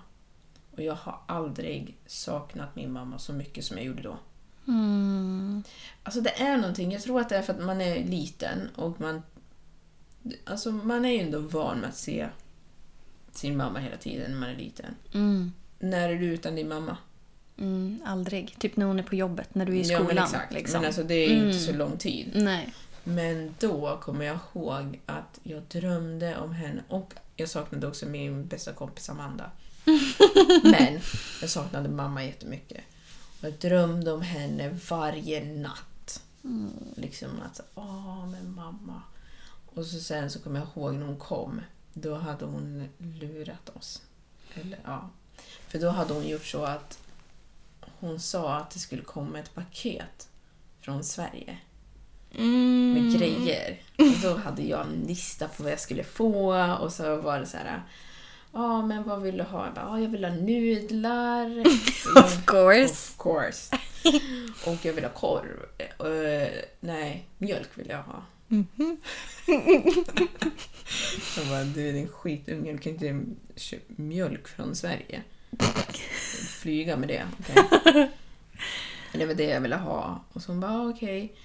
B: Och jag har aldrig saknat min mamma så mycket som jag gjorde då.
A: Mm.
B: Alltså det är någonting, jag tror att det är för att man är liten och man... Alltså man är ju ändå van med att se sin mamma hela tiden när man är liten. När är du utan din mamma?
A: Mm, aldrig. Typ när hon är på jobbet, när du är i skolan.
B: men exakt.
A: liksom. Mm.
B: Men alltså det är ju inte så lång tid.
A: Nej.
B: Men då kommer jag ihåg att jag drömde om henne och jag saknade också min bästa kompis Amanda. Men jag saknade mamma jättemycket. Och Jag drömde om henne varje natt. Liksom att så, åh, men mamma. Och så sen så kommer jag ihåg när hon kom. Då hade hon lurat oss. Eller ja. För då hade hon gjort så att hon sa att det skulle komma ett paket från Sverige med grejer. Och då hade jag en lista på vad jag skulle få och så var det så här. Ja, men vad vill du ha? Jag bara, "Ja, jag vill ha nudlar.
A: Of course.
B: Of course. Och jag vill ha korv. Eh, nej, mjölk vill jag ha. jag bara, du är en skitunge, du kan inte köpa mjölk från Sverige. Flyga med det. okej. Det var det jag ville ha. Och så hon bara, "Ah, okej.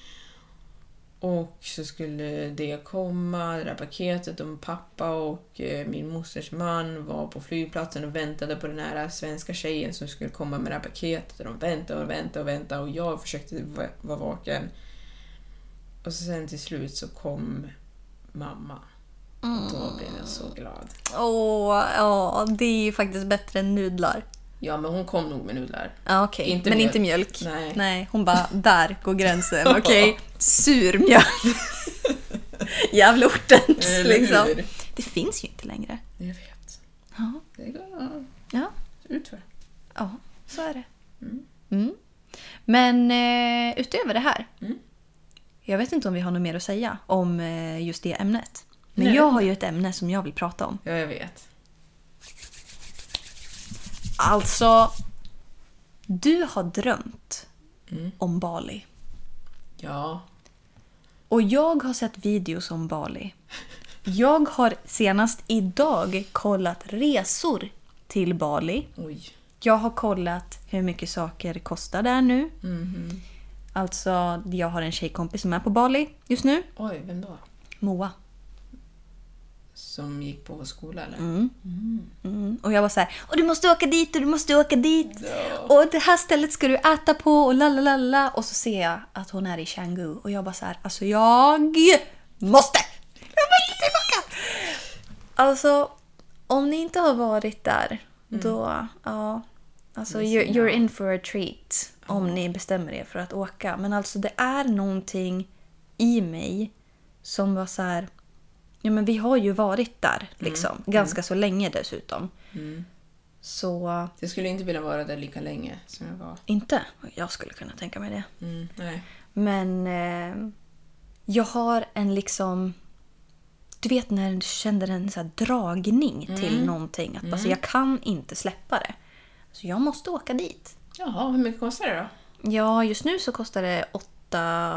B: Och så skulle det komma, det där paketet och pappa och eh, min mosters man var på flygplatsen och väntade på den här svenska tjejen som skulle komma med det här paketet. Och de väntade och väntade och väntade och jag försökte va- vara vaken. Och så sen till slut så kom mamma.
A: Mm.
B: Och då blev jag så glad.
A: Åh, ja, det är ju faktiskt bättre än nudlar.
B: Ja, men hon kom nog med nudlar.
A: Ja, okej.
B: Inte
A: Men
B: mjölk.
A: inte mjölk.
B: Nej.
A: Hon bara, där går gränsen.
B: <laughs>
A: Okej, surmjölk. Jävla ortens
B: Eller hur?
A: liksom. Det finns ju inte längre.
B: Jag vet.
A: Ja.
B: Det går
A: Ja,
B: utför.
A: ja så är det. Mm. Men eh, utöver det här.
B: Mm.
A: Jag vet inte om vi har något mer att säga om eh, just det ämnet. Men
B: Nej.
A: jag har ju ett ämne som jag vill prata om.
B: Ja, jag vet.
A: Alltså, du har drömt
B: Mm.
A: om Bali.
B: Ja.
A: Och jag har sett videos om Bali. Jag har senast idag kollat resor till Bali.
B: Oj.
A: Jag har kollat hur mycket saker kostar där nu. Alltså, jag har en tjejkompis som är på Bali just nu.
B: Oj, vem då?
A: Moa.
B: som gick på vår skola eller?
A: Mm. Och jag var så här, och du måste åka dit och du måste åka dit. Och det här stället ska du äta på och la la la la. Och så ser jag att hon är i Canggu och jag bara så här, alltså jag måste! Jag måste tillbaka! Alltså, om ni inte har varit där, då, ja. Alltså, you're, you're in for a treat om ni bestämmer er för att åka. Men alltså det är någonting i mig som var så här, ja men vi har ju varit där liksom. Ganska så länge dessutom. Så
B: Jag skulle inte vilja vara där lika länge som jag var.
A: inte. Jag skulle kunna tänka mig det.
B: Mm, nej.
A: Men eh, jag har en liksom... Du vet när du känner en så här dragning till någonting. Att alltså, jag kan inte släppa det. Så jag måste åka dit.
B: Jaha, hur mycket kostar det då?
A: Ja, just nu så kostar det åtta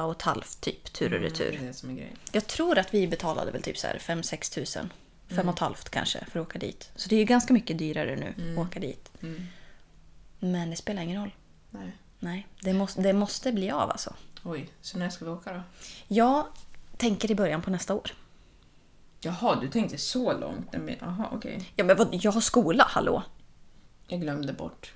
A: och ett halvt typ tur och retur.
B: Det är det som är grejen.
A: Jag tror att vi betalade väl typ så här 5-6 tusen. fem och ett halvt kanske för att åka dit. Så det är ju ganska mycket dyrare nu att åka dit. Men det spelar ingen roll.
B: Nej.
A: Nej, det måste, det måste bli av alltså.
B: Oj, så när ska vi åka då?
A: Jag tänker i början på nästa år.
B: Jaha, du tänkte så långt? Nej, men- Jaha, okej.
A: Ja, men vad, jag har skola, hallå.
B: Jag glömde bort.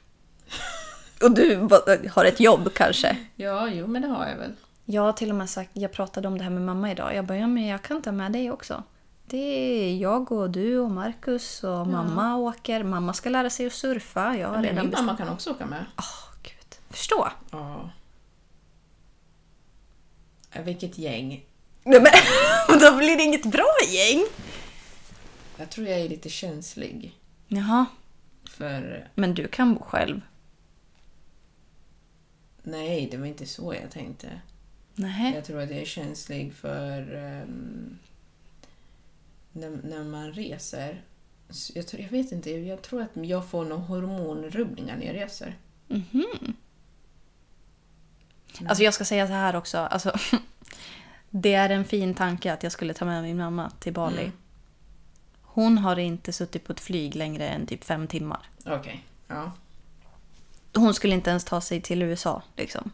A: Och du vad, har ett jobb kanske.
B: Ja, jo men det har jag väl.
A: Jag har till och med sagt, jag pratade om det här med mamma idag. Jag bara, ja, men jag kan ta med dig också. Det är jag och du och Marcus och mamma åker. Mamma ska lära sig att surfa. Jag har
B: Men
A: redan
B: min
A: bestämt.
B: mamma kan också åka med.
A: Åh, Gud. Förstå!
B: Ja. Ja, Vilket gäng.
A: Nej, men <laughs> då blir det inget bra gäng!
B: Jag tror jag är lite känslig
A: Jaha,
B: för...
A: men du kan bo själv.
B: Nej, det var inte så jag tänkte.
A: Nej.
B: Jag tror att jag är känslig för ehm, när, när man reser. Så Jag, tror, jag vet inte, jag tror att jag får några hormonrubbningar när jag reser.
A: Alltså jag ska säga så här också. Alltså, <laughs> det är en fin tanke att jag skulle ta med min mamma till Bali.
B: Mm.
A: Hon har inte suttit på ett flyg längre än typ fem timmar.
B: Okej, ja.
A: Hon skulle inte ens ta sig till USA. Liksom.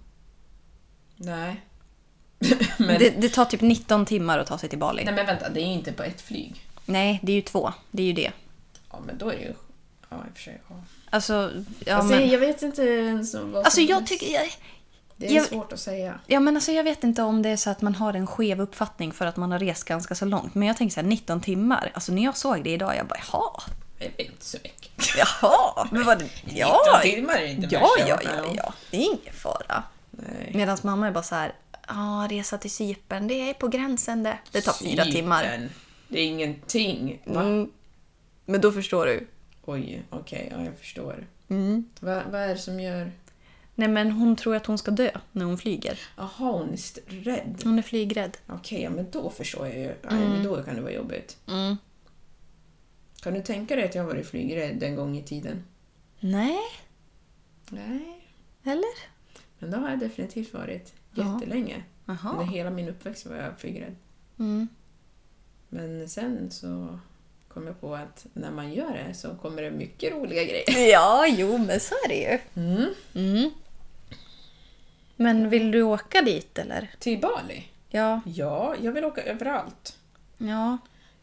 B: Nej.
A: <laughs> Det, det tar typ 19 timmar att ta sig till Bali.
B: Nej
A: Nej,
B: men vänta, det är ju inte bara ett flyg.
A: det är ju två. Det är ju det.
B: Ja men då är det ju... Ja i och för sig. Ja.
A: Alltså, ja,
B: alltså,
A: men,
B: Jag vet inte ens om vad
A: alltså
B: som
A: jag
B: är-
A: tycker... Jag,
B: Det är
A: jag-
B: svårt att säga.
A: ja, men alltså, jag vet inte om det är så att man har en skev uppfattning för att man har rest ganska så långt. Men jag tänker så här, 19 timmar. Alltså när jag såg det idag, jag bara jaha.
B: Det är inte så
A: <laughs>
B: mycket.
A: Jaha, men vad... Ja,
B: 19 timmar är inte
A: ja,
B: värsta
A: ja,
B: jag varit med
A: ja,
B: om.
A: ja, det är ingen fara.
B: Nej.
A: Medan mamma är bara så här, ja, resa till Cypern, det är på gränsen det. Det tar fyra
B: Cypern.
A: timmar.
B: Det är ingenting. Va?
A: Mm. Men då förstår du.
B: Oj, okej, ja, jag förstår.
A: Mm.
B: Va, vad är det som gör...
A: Nej men hon tror att hon ska dö när hon flyger.
B: Jaha, hon är st- rädd.
A: Hon är flygrädd.
B: Okej, ja, men då förstår jag ju. Aj, men då kan det vara jobbigt. Kan du tänka dig att jag har varit flygrädd en gång i tiden?
A: Nej,
B: Nej,
A: eller?
B: men det har jag definitivt varit. Jättelänge.
A: Jaha.
B: Under hela min uppväxt var jag flygrädd. Men sen så kom jag på att när man gör det så kommer det mycket roliga grejer.
A: Ja, jo men så är det ju. Mm. Men vill du åka dit eller?
B: Till Bali?
A: Ja.
B: Ja, jag vill åka överallt.
A: Ja.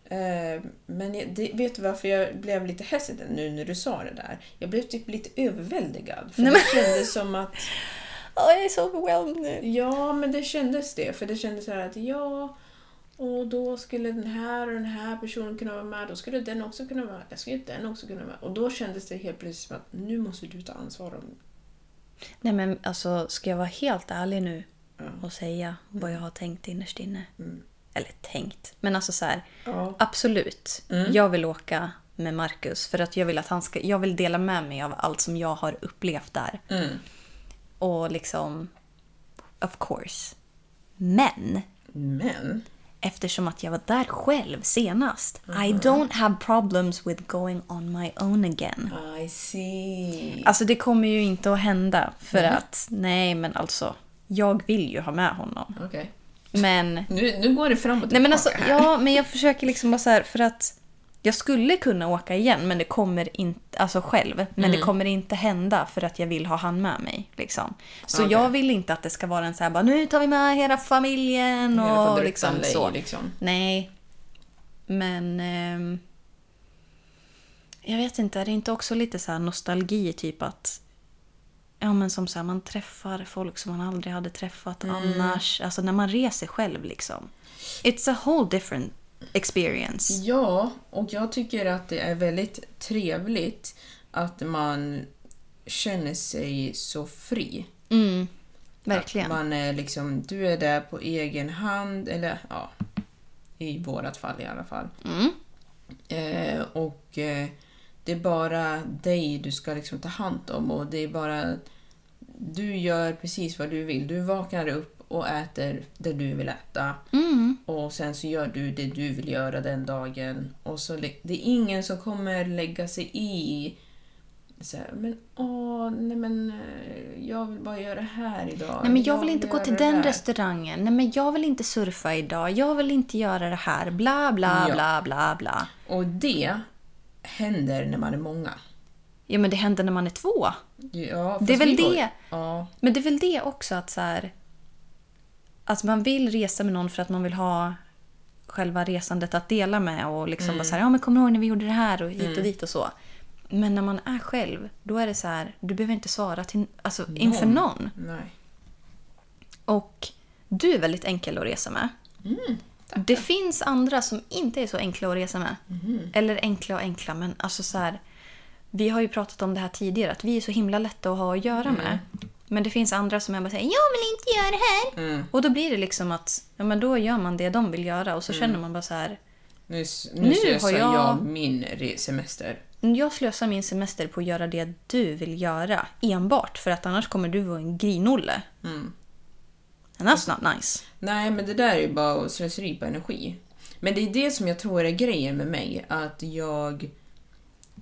B: Eh, Men jag, det, vet du varför jag blev lite hesitant nu när du sa det där? Jag blev typ lite överväldigad. För
A: Nej,
B: det kändes som att...
A: Åh, jag är så overwhelmed nu.
B: Ja, men det kändes det. För det kändes så här att ja, och då skulle den här och den här personen kunna vara med. Då skulle den också kunna vara med. Där skulle den också kunna vara med. Och då kändes det helt plötsligt som att nu måste du ta ansvar om...
A: Nej men alltså, ska jag vara helt ärlig nu och säga vad jag har tänkt innerst inne? Eller tänkt, men alltså så här.
B: Ja.
A: Absolut, jag vill åka med Marcus för att jag vill att han ska, jag vill dela med mig av allt som jag har upplevt där. Och liksom, of course. Men
B: Men...
A: eftersom att jag var där själv senast, I don't have problems with going on my own again.
B: I see.
A: Alltså det kommer ju inte att hända för att, nej men alltså, jag vill ju ha med honom.
B: Okej.
A: Men
B: Nu, nu går det framåt och
A: Nej men alltså,
B: tillbaka här.
A: ja, men jag försöker liksom bara så här för att jag skulle kunna åka igen men det kommer inte, alltså själv, men det kommer inte hända för att jag vill ha han med mig. Liksom. Så jag vill inte att det ska vara en så här bara nu tar vi med hela familjen
B: Hela
A: och
B: faderuttan
A: liksom
B: lej,
A: så.
B: liksom.
A: Nej. Men... ehm, jag vet inte, är det inte också lite så här nostalgi typ att... Ja men som så här, man träffar folk som man aldrig hade träffat
B: Mm.
A: annars. Alltså när man reser själv liksom. It's a whole different experience.
B: Ja, och jag tycker att det är väldigt trevligt att man känner sig så fri.
A: Verkligen.
B: Man är liksom, du är där på egen hand, eller ja, i vårat fall i alla fall. Eh, och eh, det är bara dig du ska liksom ta hand om och det är bara... Du gör precis vad du vill. Du vaknar upp och äter det du vill äta.
A: Mm.
B: Och sen så gör du det du vill göra den dagen. Och så, lä- det är ingen som kommer lägga sig i så här, men åh, nej men eh, jag vill bara göra det här idag.
A: Nej, men jag vill inte gå
B: göra
A: till
B: det
A: den
B: där."
A: restaurangen. Nej, men jag vill inte surfa idag. Jag vill inte göra det här. Bla, bla,
B: Ja.
A: bla, bla, bla.
B: Och det händer när man är många.
A: Ja, men det händer när man är två.
B: Ja,
A: Det är
B: fast
A: väl
B: vi var-
A: det.
B: Ja,
A: Men det är väl det också att så här... Att man vill resa med någon för att man vill ha själva resandet att dela med och liksom bara så här, ja men kommer du ihåg när vi gjorde det här och hit och dit och så. Men när man är själv, då är det så här, du behöver inte svara till, alltså, inför någon.
B: nej.
A: Och du är väldigt enkel att resa med. det finns andra som inte är så enkla att resa med. Eller enkla och enkla, men alltså så här. Vi har ju pratat om det här tidigare, att vi är så himla lätta att ha att göra med. Men det finns andra som är bara säger jag vill inte göra det här. Och då blir det liksom att ja, men då gör man det de vill göra och så känner man bara så här.
B: Nu, s- nu,
A: Nu
B: slösar
A: har jag-
B: jag... min re- semester.
A: Jag slösar min semester på att göra det du vill göra enbart för att annars kommer du vara en grinolle. Mm. And that's not nice.
B: Nej, men det där är ju bara slöseri på energi. Men det är det som jag tror är grejen med mig, att jag...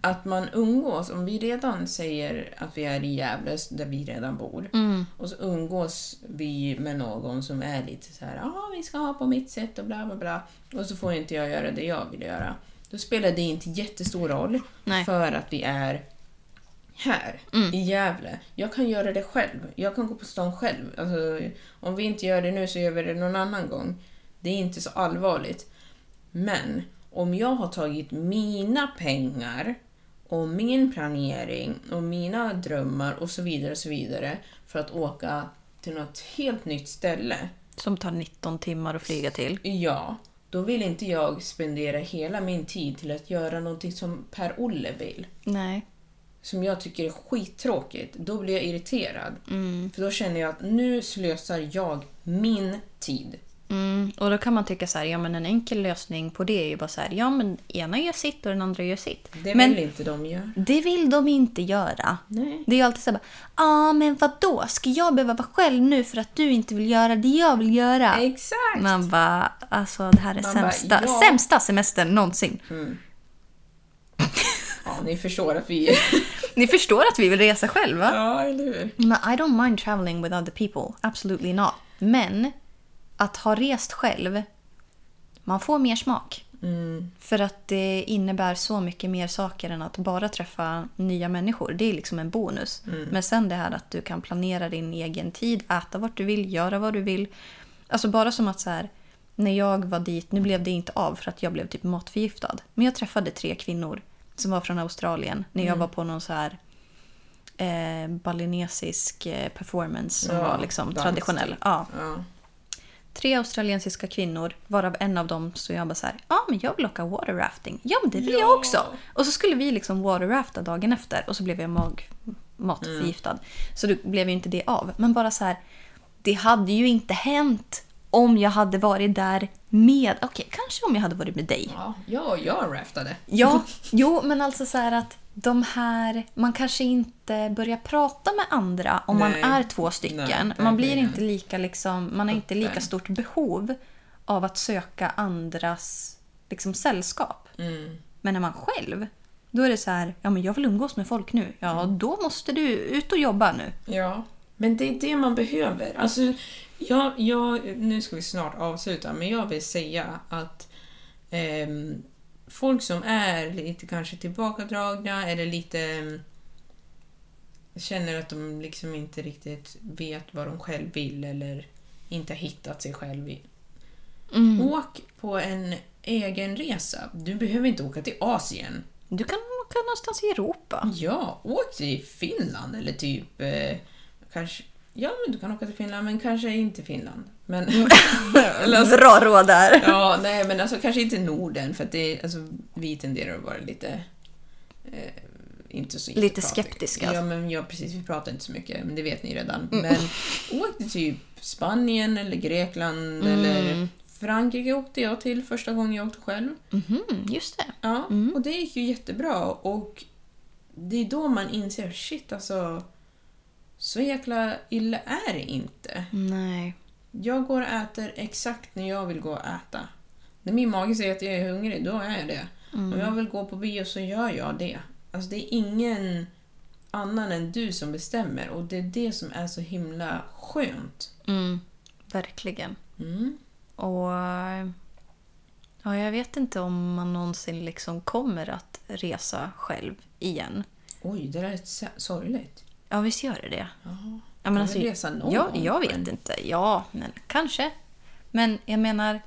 B: Att man umgås, om vi redan säger att vi är i Gävle, där vi redan bor, och så umgås vi med någon som är lite så här, ja ah, vi ska ha på mitt sätt och bla bla bla, och så får inte jag göra det jag vill göra. Då spelar det inte jättestor roll,
A: Nej.
B: för att vi är här i Gävle. Jag kan göra det själv. Jag kan gå på stan själv. Alltså, om vi inte gör det nu så gör vi det någon annan gång. Det är inte så allvarligt. Men om jag har tagit mina pengar och min planering och mina drömmar och så vidare och så vidare för att åka till något helt nytt ställe.
A: Som tar 19 timmar att flyga till.
B: Ja, då vill inte jag spendera hela min tid till att göra någonting som Per-Olle vill.
A: Nej.
B: som jag tycker är skittråkigt, då blir jag irriterad. För då känner jag att nu slösar jag min tid.
A: Mm, och då kan man tycka så här, ja men en enkel lösning på det är ju bara så här, ja men ena gör sitt och den andra gör sitt.
B: Det
A: men
B: vill inte de göra.
A: det vill de inte göra.
B: Nej.
A: Det är ju alltid så här, bara, ja men vadå, ska jag behöva vara själv nu för att du inte vill göra det jag vill göra?
B: Exakt!
A: Man bara, alltså det här är
B: Man
A: sämsta,
B: bara, ja. Mm.
A: sämsta semestern någonsin.
B: Ja, ni förstår att vi... <laughs>
A: Ni förstår att vi vill resa själva.
B: ja, eller hur?
A: Men I don't mind traveling with other people, absolutely not. Men att ha rest själv, man får mer smak. För att det innebär så mycket mer saker än att bara träffa nya människor. Det är liksom en bonus. Men sen det här att du kan planera din egen tid, äta vart du vill, göra vad du vill. Alltså bara som att så här, när jag var dit, nu blev det inte av för att jag blev typ matförgiftad. Men jag träffade tre kvinnor som var från Australien när jag var på någon så här eh, balinesisk eh, performance som
B: Ja,
A: var liksom
B: dans,
A: traditionell.
B: typ.
A: Ja.
B: Ja.
A: Tre australiensiska kvinnor, varav en av dem så jag bara så här, ja men jag vill åka water rafting. Ja men det vill jag också! Och så skulle vi liksom water rafta dagen efter och så blev jag mag, matförgiftad. Så det blev ju inte det av. Men bara så här, det hade ju inte hänt om jag hade varit där med, okej kanske om jag hade varit med dig.
B: Ja, ja, jag raftade. <laughs>
A: Ja, jo, men alltså så här att de här... Man kanske inte börjar prata med andra om
B: Nej.
A: man är två stycken.
B: Nej,
A: man blir
B: verkligen.
A: inte lika liksom... Man har inte lika stort behov av att söka andras liksom, sällskap.
B: Mm.
A: Men när man själv, då är det så här... Ja, men jag vill umgås med folk nu. Ja,
B: Mm.
A: då måste du ut och jobba nu.
B: Ja. Men det är det man behöver. Alltså, jag, jag, nu ska vi snart avsluta, men jag vill säga att ehm, folk som är lite kanske tillbakadragna eller lite ehm, känner att de liksom inte riktigt vet vad de själv vill eller inte har hittat sig själv. i- Åk på en egenresa. Du behöver inte åka till Asien.
A: Du kan åka någonstans i Europa.
B: Ja, åk till Finland eller typ... Eh, kanske... Ja, men du kan åka till Finland, men kanske inte Finland. Men...
A: <laughs>
B: eller alltså,
A: Bra råd där.
B: ja, nej, men alltså kanske inte Norden, för att det, alltså, vi tenderar att vara lite... Eh, inte så
A: Lite
B: jättepratiga.
A: skeptiska. Mm.
B: Ja, men ja, precis. Vi pratar inte så mycket, men det vet ni redan. Men åk till typ Spanien eller
A: Mm.
B: Grekland eller... Frankrike åkte jag till första gången jag åkte själv.
A: Mm, just det.
B: Ja, och det gick ju jättebra och det är då man inser shit alltså så jäkla illa är det inte.
A: Nej.
B: Jag går och äter exakt när jag vill gå och äta. När min mage säger att jag är hungrig, då är jag det. Om jag vill gå på bio så gör jag det. Alltså det är ingen annan än du som bestämmer och det är det som är så himla skönt.
A: Mm. Verkligen. Och... Ja, jag vet inte om man någonsin liksom kommer att resa själv igen.
B: Oj, det där är så- sorgligt.
A: Ja, visst gör det det. Ja, alltså,
B: Kommer resa någon
A: jag,
B: gång,
A: jag
B: men-
A: vet inte. Ja, men kanske. Men jag menar...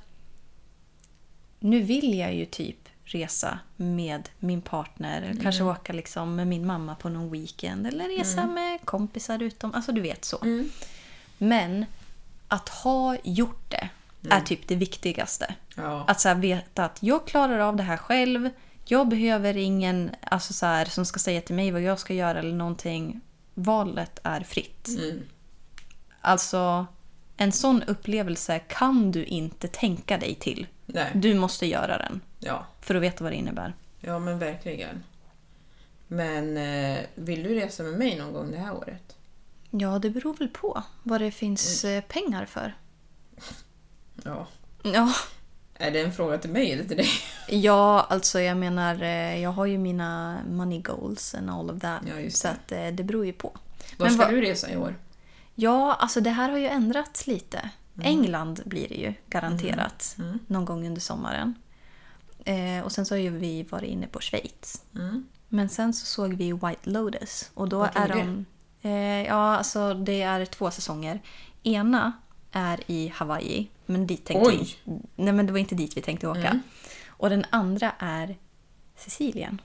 A: Nu vill jag ju typ resa med min partner. eller Kanske
B: Mm.
A: åka liksom med min mamma på någon weekend. Eller resa med kompisar utom... Alltså du vet så.
B: Mm.
A: Men att ha gjort det
B: Mm.
A: är typ det viktigaste.
B: Ja.
A: Att så här veta att jag klarar av det här själv. Jag behöver ingen alltså så här, som ska säga till mig vad jag ska göra eller någonting. Valet är fritt.
B: Mm.
A: Alltså, en sån upplevelse kan du inte tänka dig till.
B: Nej.
A: Du måste göra den
B: Ja.
A: för att veta vad det innebär.
B: Ja, men verkligen. Men eh, vill du resa med mig någon gång det här året?
A: Ja, det beror väl på vad det finns
B: Mm.
A: eh, pengar för.
B: Ja.
A: Ja,
B: Är det en fråga till mig eller
A: <laughs>
B: till dig?
A: ja alltså jag menar, eh, jag har ju mina money goals and all of that.
B: Ja, just
A: så
B: det.
A: att eh, det beror ju på.
B: Var ska
A: vad-
B: du resa i år?
A: Ja, alltså det här har ju ändrats lite. England blir det ju garanterat någon gång under sommaren. Eh, och sen så har ju vi varit inne på Schweiz. Men sen så såg vi White Lotus och då
B: Vart
A: är
B: ligger
A: de... Eh, ja, alltså det är två säsonger. Ena är i Hawaii, men dit tänkte
B: Oj!
A: vi... Nej, men det var inte dit vi tänkte åka. Och den andra är Sicilien.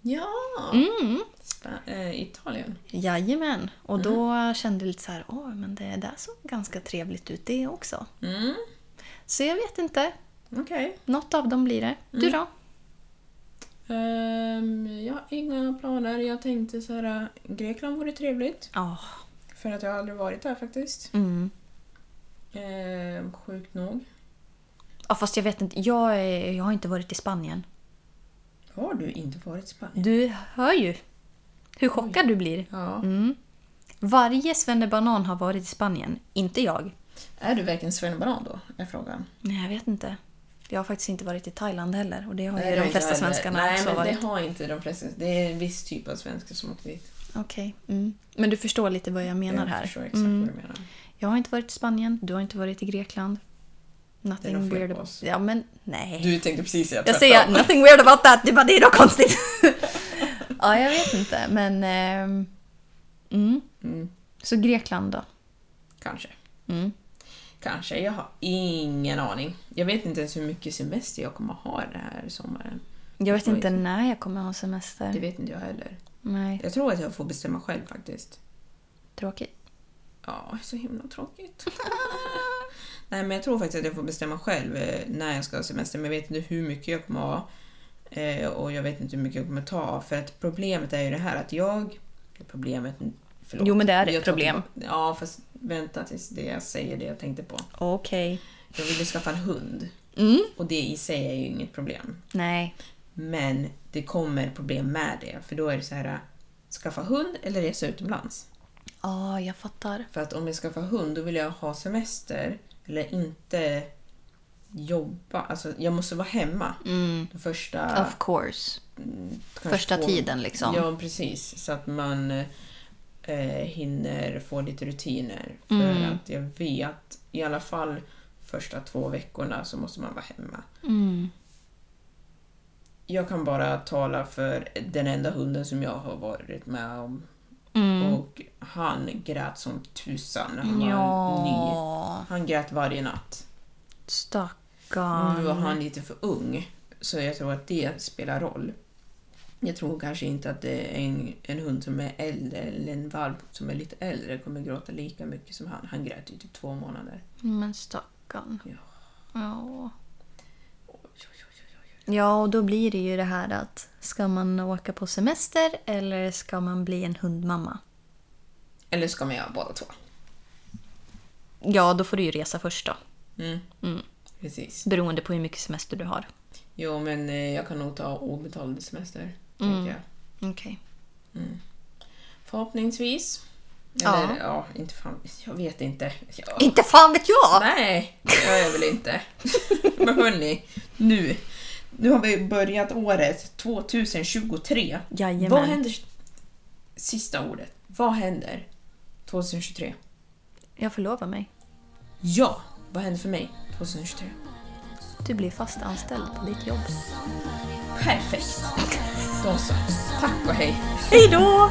B: Ja! Mm. Spa- eh, Italien.
A: Jajamän. Och då kände jag lite så här, åh, men det där såg ganska trevligt ut det också. Så jag vet inte.
B: Okej.
A: Något av dem blir det. Du då?
B: Ehm, jag har inga planer. Jag tänkte så här, eh, Grekland vore trevligt.
A: Ja. Mm.
B: För att jag har aldrig varit där faktiskt. Ehm, sjukt nog.
A: Ja, fast jag vet inte. Jag, är, jag har inte varit i Spanien.
B: Har du inte varit i Spanien?
A: Du hör ju hur chockad du Mm. blir.
B: Ja.
A: Varje svennebanan har varit i Spanien. Inte jag.
B: Är du verkligen svennebanan då? Är frågan.
A: Nej, jag vet inte. Jag har faktiskt inte varit i Thailand heller och det har
B: Nej,
A: ju
B: det har
A: de
B: inte
A: flesta
B: jag heller.
A: svenskarna
B: Nej,
A: också
B: men
A: varit.
B: det har inte de flesta. Det är en viss typ av svenskar som åker dit.
A: Okej. Mm. Men du förstår lite vad jag menar
B: Jag
A: här. Mm.
B: förstår exakt vad du menar.
A: Jag har inte varit i Spanien, du har inte varit i Grekland.
B: Det är
A: Nothing
B: nog fel
A: weird
B: på
A: about...
B: oss.
A: Ja, men nej.
B: Du tänkte precis säga
A: jag säger
B: tvärtom.
A: nothing weird about that, det, bara, det är något
B: <laughs>
A: konstigt. ja, jag vet inte, men... ehm, mm. Så Grekland då?
B: Kanske.
A: Mm.
B: Kanske. Jag har ingen aning. Jag vet inte ens hur mycket semester jag kommer ha den här sommaren.
A: Jag vet
B: Oj.
A: inte när jag kommer ha
B: Det
A: semester.
B: vet inte jag heller.
A: Nej,
B: Jag tror att jag får bestämma själv faktiskt.
A: tråkigt.
B: Ja, så himla tråkigt. <laughs> Nej, men jag tror faktiskt att jag får bestämma själv eh, när jag ska ha semester. Men jag vet inte hur mycket jag kommer ha. eh, Och jag vet inte hur mycket jag kommer ta. För att problemet är ju det här att jag... Problemet... Förlåt.
A: Jo, men det är ett
B: Jag tar
A: problem.
B: tillbaka- Ja, fast vänta tills det jag säger det jag tänkte på.
A: Okej.
B: Jag ville skaffa en hund.
A: Mm.
B: Och det i sig är ju inget problem.
A: Nej.
B: Men det kommer problem med det. För då är det så här, skaffa hund eller resa utomlands.
A: Ja, jag fattar.
B: För att om jag skaffar hund då vill jag ha semester eller inte jobba. Alltså jag måste vara hemma. De första...
A: Of course.
B: kanske
A: första tiden, liksom.
B: Ja, precis. Så att man eh, hinner få lite rutiner. För
A: Mm.
B: att jag vet, i alla fall första två veckorna så måste man vara hemma.
A: Mm.
B: Jag kan bara tala för den enda hunden som jag har varit med om.
A: Mm.
B: Och han grät som tusan när han var ny.
A: Ja.
B: Han grät varje natt. Nu
A: vegan.
B: var han lite för ung, så jag tror att det spelar roll. Jag tror kanske inte att det är en, en hund som är äldre eller en valp som är lite äldre kommer gråta lika mycket som han. Han grät ju typ två månader.
A: Men stackarn.
B: Ja.
A: Ja.
B: Oj, oj, oj, oj, oj.
A: ja, och då blir det ju det här att ska man åka på semester eller ska man bli en hundmamma?
B: Eller ska man göra båda två?
A: Ja, då får du ju resa först då.
B: Mm. Precis.
A: Beroende på hur mycket semester du har.
B: Jo, men eh, jag kan nog ta obetald semester, tänker jag.
A: Okej.
B: Förhoppningsvis.
A: Ja.
B: Eller, ja. inte fan. Jag vet inte. Ja.
A: Inte fan vet jag!
B: Nej, det gör jag väl inte. <laughs> Men hörni, nu. Nu har vi börjat året 2023.
A: Jajamän.
B: Vad händer... Sista ordet. Vad händer 2023?
A: Jag förlovar mig.
B: Ja, vad händer för mig 2023?
A: Du blir fast anställd på ditt jobb.
B: Perfekt. Då så. Tack och hej.
A: Hej då!